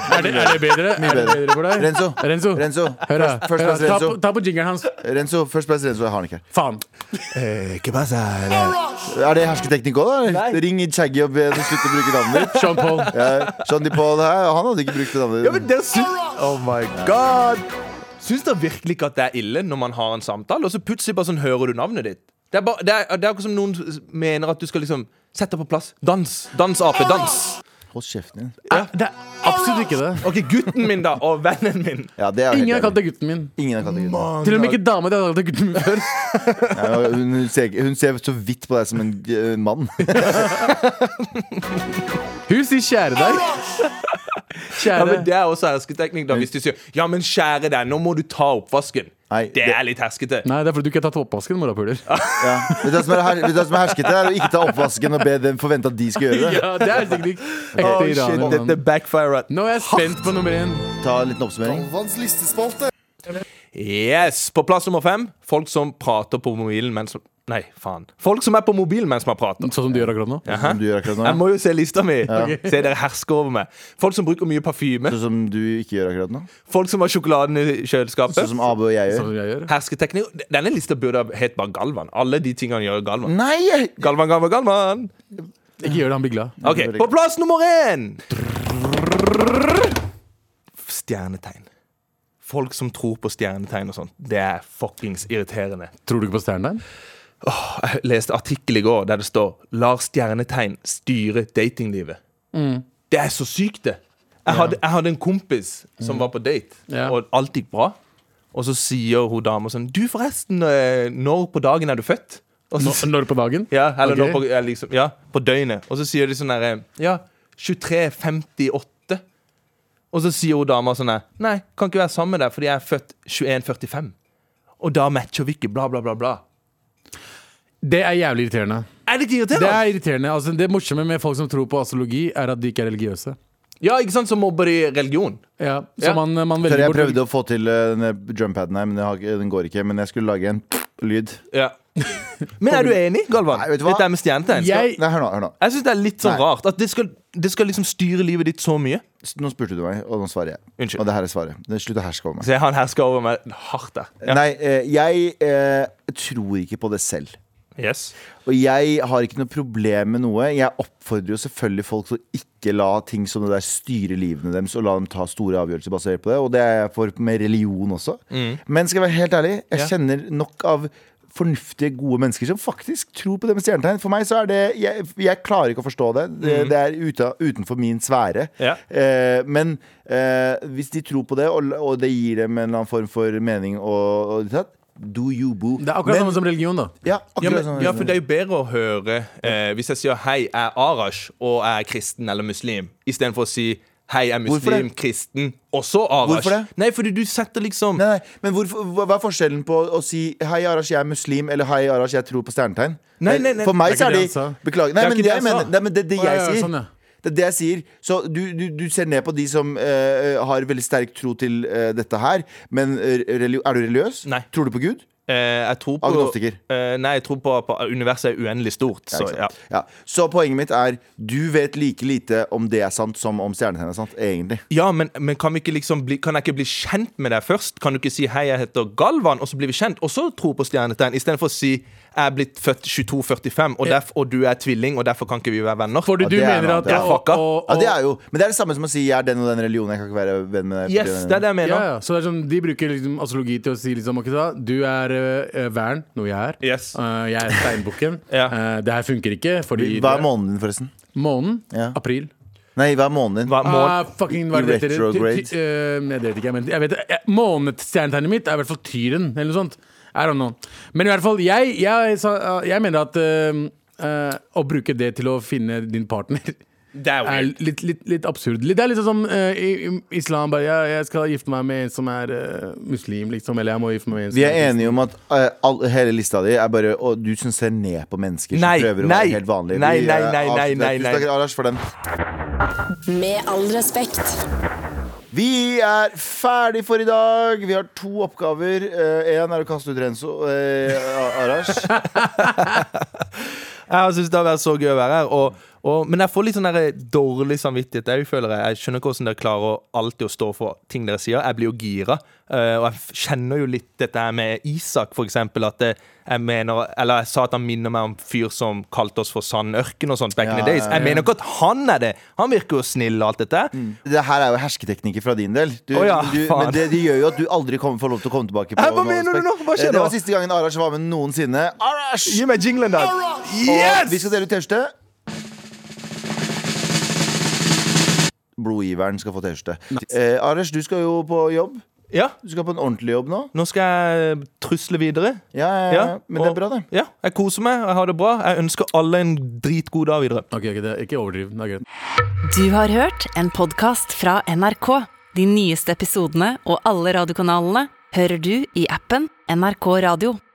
S4: Er det, er det bedre? Er det
S2: bedre.
S4: bedre for deg?
S2: Renzo.
S4: Renzo.
S2: Renzo.
S4: Hør da.
S2: Først- først plass,
S4: Hør da. Ta,
S2: Renzo.
S4: på- ta på jingeren hans.
S2: Renzo, Først plass Renzo. Jeg har den ikke her.
S4: Faen.
S2: Er det hersketeknikk òg, da?
S3: Nei.
S2: Ring Chaggy og be dem slutte å bruke navnet ditt.
S4: Sean Paul.
S2: Ja, Sean DePaul her, han hadde ikke brukt det navnet.
S3: Oh my god Syns dere virkelig ikke at det er ille når man har en samtale, og så plutselig bare sånn hører du navnet ditt? Det er, bare, det er, det er akkurat som noen s- mener at du skal liksom sette deg på plass. Dans. Dans, ape. Dans.
S2: Hold kjeften din.
S4: Er- Ah, Det er absolutt ikke det.
S3: OK, gutten min, da, og vennen min.
S2: Ja, det er jeg helt
S4: Ingen har kalt
S2: enig i.
S4: deg gutten min.
S2: Ingen har kalt deg gutt.
S4: Til og med ikke dama di har kalt deg gutten min før.
S2: Ja, hun, hun ser, hun ser så vidt på deg som en eh, mann.
S4: Hun sier 'kjære deg'.
S3: Ja, men
S4: Kjære.
S3: Det er også hersketeknikk, da, hvis du sier 'ja, men kjære deg, nå må du ta oppvasken'.
S2: Nei,
S3: det
S2: det-
S3: er litt herskete.
S4: Nei, det er fordi du ikke har tatt oppvasken, morapuler.
S2: Ja. Vet du hva som er, her, vet du hva som er herskete? Er å ikke ta oppvasken og be dem forvente at de skal gjøre det.
S4: Ja, det er sikkert ikke
S3: Oh,
S4: ekte
S3: shit,
S4: iraner.
S3: dette
S4: mann.
S3: backfired.
S4: Nå er jeg spent på nummer én.
S2: Ta en liten oppsummering.
S6: Galvans listespalte.
S3: Yes! På plass nummer fem folk som prater på mobilen mens Nei, faen. Folk som er på mobilen mens man prater.
S4: Sånn som du gjør akkurat nå.
S3: Hæ?
S2: Som du gjør akkurat nå.
S3: Jeg må jo se lista mi. Se dere hersker over meg. Folk som bruker mye parfyme.
S2: Sånn som du ikke gjør akkurat nå.
S3: Folk som har sjokoladen i kjøleskapet.
S2: Sånn som Abu og jeg
S4: Sånn som
S2: gjør.
S4: jeg gjør.
S3: Hersketeknikk. Denne lista burde ha hett bare Galvan. Alle de tingene gjør Galvan.
S2: Nei! jeg-
S3: Galvan, Galvan, Galvan.
S4: Ikke gjør det, han blir glad.
S3: OK, på plass nummer én! Stjernetegn. Folk som tror på stjernetegn og sånt. Det er fuckings irriterende.
S4: Tror du ikke på stjernen der?
S3: Jeg leste artikkel i går der det står 'Lar stjernetegn styre datinglivet'.
S4: Mm.
S3: Det er så sykt, det. Jeg hadde, jeg hadde en kompis som var på date,
S4: Mm. Ja.
S3: og alt gikk bra. Og så sier hun dama sånn 'Du, forresten, eh, når på dagen er du født?' Og så,
S4: Nå- Når på dagen?
S3: ja, eller
S4: Ok.
S3: når på, ja, liksom, ja, på døgnet. Og så sier de sånn derre Ja, 23.58. Og så sier hun dama sånn her Nei, kan ikke være sammen med deg, fordi jeg er født 21.45. Og da matcher vi ikke, bla, bla, bla, bla.
S4: Det er jævlig irriterende.
S3: Er det ikke irriterende?
S4: Det er irriterende, altså Det morsomme med folk som tror på astrologi, er at de ikke er religiøse.
S3: Ja, ikke sant, så mobber de religion.
S4: Ja,
S3: Ja.
S4: så Man, man
S2: Sorry,
S4: velger
S2: jeg
S4: bort
S2: prøvde å få til eh, denne drumpaden her, men jeg har, ikke- den går ikke. Men jeg skulle lage en lyd.
S3: Ja. Men er du enig, Galvan?
S2: Nei, vet du hva?
S3: Dette er med stjernetegn. Skal-
S4: Jeg-
S2: Nei, hør nå. hør Nå
S3: Jeg syns det er litt sånn
S2: Nei.
S3: rart at det skal, det skal liksom styre livet ditt så mye.
S2: Nå spurte du meg, og nå svarer jeg.
S3: Unnskyld.
S2: Og det her er svaret. Det- Slutt å herske over meg.
S3: Så jeg- han hersker over meg hardt der. Ja.
S2: Nei, eh, jeg eh, tror ikke på det selv.
S3: Yes.
S2: Og jeg har ikke noe problem med noe. Jeg oppfordrer jo selvfølgelig folk til å ikke la ting som det der styre livene deres, og la dem ta store avgjørelser basert på det. Og det er jeg for med religion også. Men skal jeg være helt ærlig, jeg
S3: Mm. Ja.
S2: kjenner nok av fornuftige, gode mennesker som faktisk tror på det med stjernetegn. For meg så er det Jeg, jeg klarer ikke å forstå det. Det, det er ute, utenfor min sfære.
S3: Mm. Ja.
S2: Eh, men eh, hvis de tror på det, og, og det gir dem en eller annen form for mening og, og ditt, do you boo.
S4: Det er akkurat samme som religion, da.
S2: ja,
S3: Ja,
S2: akkurat
S3: men,
S2: sånn.
S3: ja, for det er jo bedre å høre eh, hvis jeg sier 'hei, jeg er Arash og jeg er kristen eller muslim', istedenfor å si 'hei, jeg er
S2: Hvorfor det?
S3: muslim, kristen og så Arash'.
S2: Hvorfor det?
S3: Nei, fordi du setter liksom
S2: Nei, nei, men hvorfor, hva hva er forskjellen på å si 'Hei, Arash, jeg er muslim' eller 'Hei, Arash, jeg tror på stjernetegn'?
S3: Nei, nei, nei.
S2: For meg
S4: Det er
S2: så er
S4: ikke
S2: de
S4: det han sa.
S2: Beklager.
S3: Det
S2: Nei,
S3: er
S2: men det
S3: ikke det
S2: jeg
S3: han sa.
S2: mener. Nei, men det er det
S4: Å, ja,
S2: jeg
S4: ja,
S2: sier.
S4: sånn, ja.
S2: Det er det jeg sier. Så du, du, du ser ned på de som eh, har veldig sterk tro til eh, dette her, men eh, religi er du religiøs?
S3: Nei.
S2: Tror du på Gud?
S3: eh, Jeg tror på
S2: Agnostiker.
S3: Eh, nei, jeg tror på at universet er uendelig stort.
S2: Ja,
S3: så,
S2: ikke
S3: ja.
S2: sant. Ja. Så poenget mitt er du vet like lite om det er sant, som om stjernetegn er sant, egentlig.
S3: Ja, men, men kan, vi ikke liksom bli, kan jeg ikke bli kjent med deg først? Kan du ikke si 'hei, jeg heter Galvan', og så blir vi kjent, og så tro på stjernetegn? Istedenfor å si 'jeg er blitt født 22.45, og, derf, og du er tvilling, og derfor kan ikke vi være venner'.
S4: Fordi
S2: Ja,
S4: du
S2: det er
S4: mener
S2: noe
S4: at
S2: annet, ja.
S4: og,
S3: Fucka.
S4: og,
S2: Ja,
S4: og,
S2: det er jo Men det er det samme som å si 'jeg er den og den religionen', jeg kan ikke være venn med deg.
S3: Yes, det er det jeg mener.
S4: ja, ja. Så det er sånn, De bruker liksom astrologi til å si liksom, ok, da, du er uh, vern, noe jeg er.
S3: Yes.
S4: Eh, jeg er steinbukken.
S3: Ja.
S4: Eh, det her funker ikke, fordi
S2: Hva er måneden din, forresten?
S4: månen?
S2: Ja.
S4: April.
S2: Nei, hva er måneden din?
S3: Hva, må,
S4: Ah, fucking, hva er det
S2: I
S4: det heter? Ty-
S2: retrograde?
S4: ty- eh, nei, det vet ikke jeg, men jeg vet eh, Månestjernetegnet mitt er i hvert fall Tyren, eller noe sånt. I don't know. Men i hvert fall, jeg, jeg, sa- jeg mener at eh, eh, å bruke det til å finne din partner
S3: Det er
S4: er
S3: weird.
S4: litt, litt, litt absurd. Litt- Det er litt sånn som eh, i, i islam bare ja, 'Jeg skal gifte meg med en som er eh, muslim', liksom. Eller 'jeg må gifte meg med en som
S2: Vi er enige om at eh, all, hele lista di er bare Og du som ser ned på mennesker
S3: Nei,
S2: som prøver å
S3: nei,
S2: være helt vanlige.
S3: nei,
S2: Vi, eh,
S3: nei, nei, nei,
S2: avslutter.
S3: nei, nei.
S2: Tusen takk, Arash, for den.
S5: Med all respekt.
S2: Vi er ferdig for i dag. Vi har to oppgaver. Én er å kaste ut Renzo. eh, Arash.
S3: Jeg syns det har vært så gøy å være her. Og, og, men jeg får litt sånn der dårlig samvittighet. Jeg, føler jeg. jeg skjønner ikke hvordan dere klarer å alltid å stå for ting dere sier. Jeg blir jo gira. eh, og jeg f- kjenner jo litt dette her med Isak, for eksempel. At eh, jeg mener Eller jeg sa at han minner meg om fyr som kalte oss for Sandørken og sånt back in
S2: Ja,
S3: the days.
S2: ja, Mm.
S3: Jeg mener ikke at han er det. Han virker jo snill og alt dette.
S2: Det her er jo hersketeknikker fra din del. Du,
S3: Å ja,
S2: du,
S3: faen.
S2: men det, det gjør jo at du aldri kommer, får lov til å komme tilbake. på
S3: Hæ, hva
S2: Med all
S3: mener du
S2: respekt.
S3: nå? Hva skjer
S2: Eh, Det
S3: nå?
S2: var siste gangen Arash var med noensinne. Arash!
S3: Gi meg jinglen der.
S2: Og vi
S3: Yes!
S2: skal dele ut T-skjorte. Blodgiveren skal få T-skjorte. Eh, Arash, du skal jo på jobb.
S3: Ja,
S2: Du skal på en ordentlig jobb nå.
S3: nå skal jeg trusle videre.
S2: Ja, ja, ja. Men det
S3: og-
S2: er bra, det.
S3: Ja, jeg koser meg, jeg har det bra. Jeg ønsker alle en dritgod dag videre.
S4: Ok, ok, det er ikke overdriv. Det er greit.
S1: Du har hørt en podkast fra NRK. De nyeste episodene og alle radiokanalene hører du i appen NRK Radio.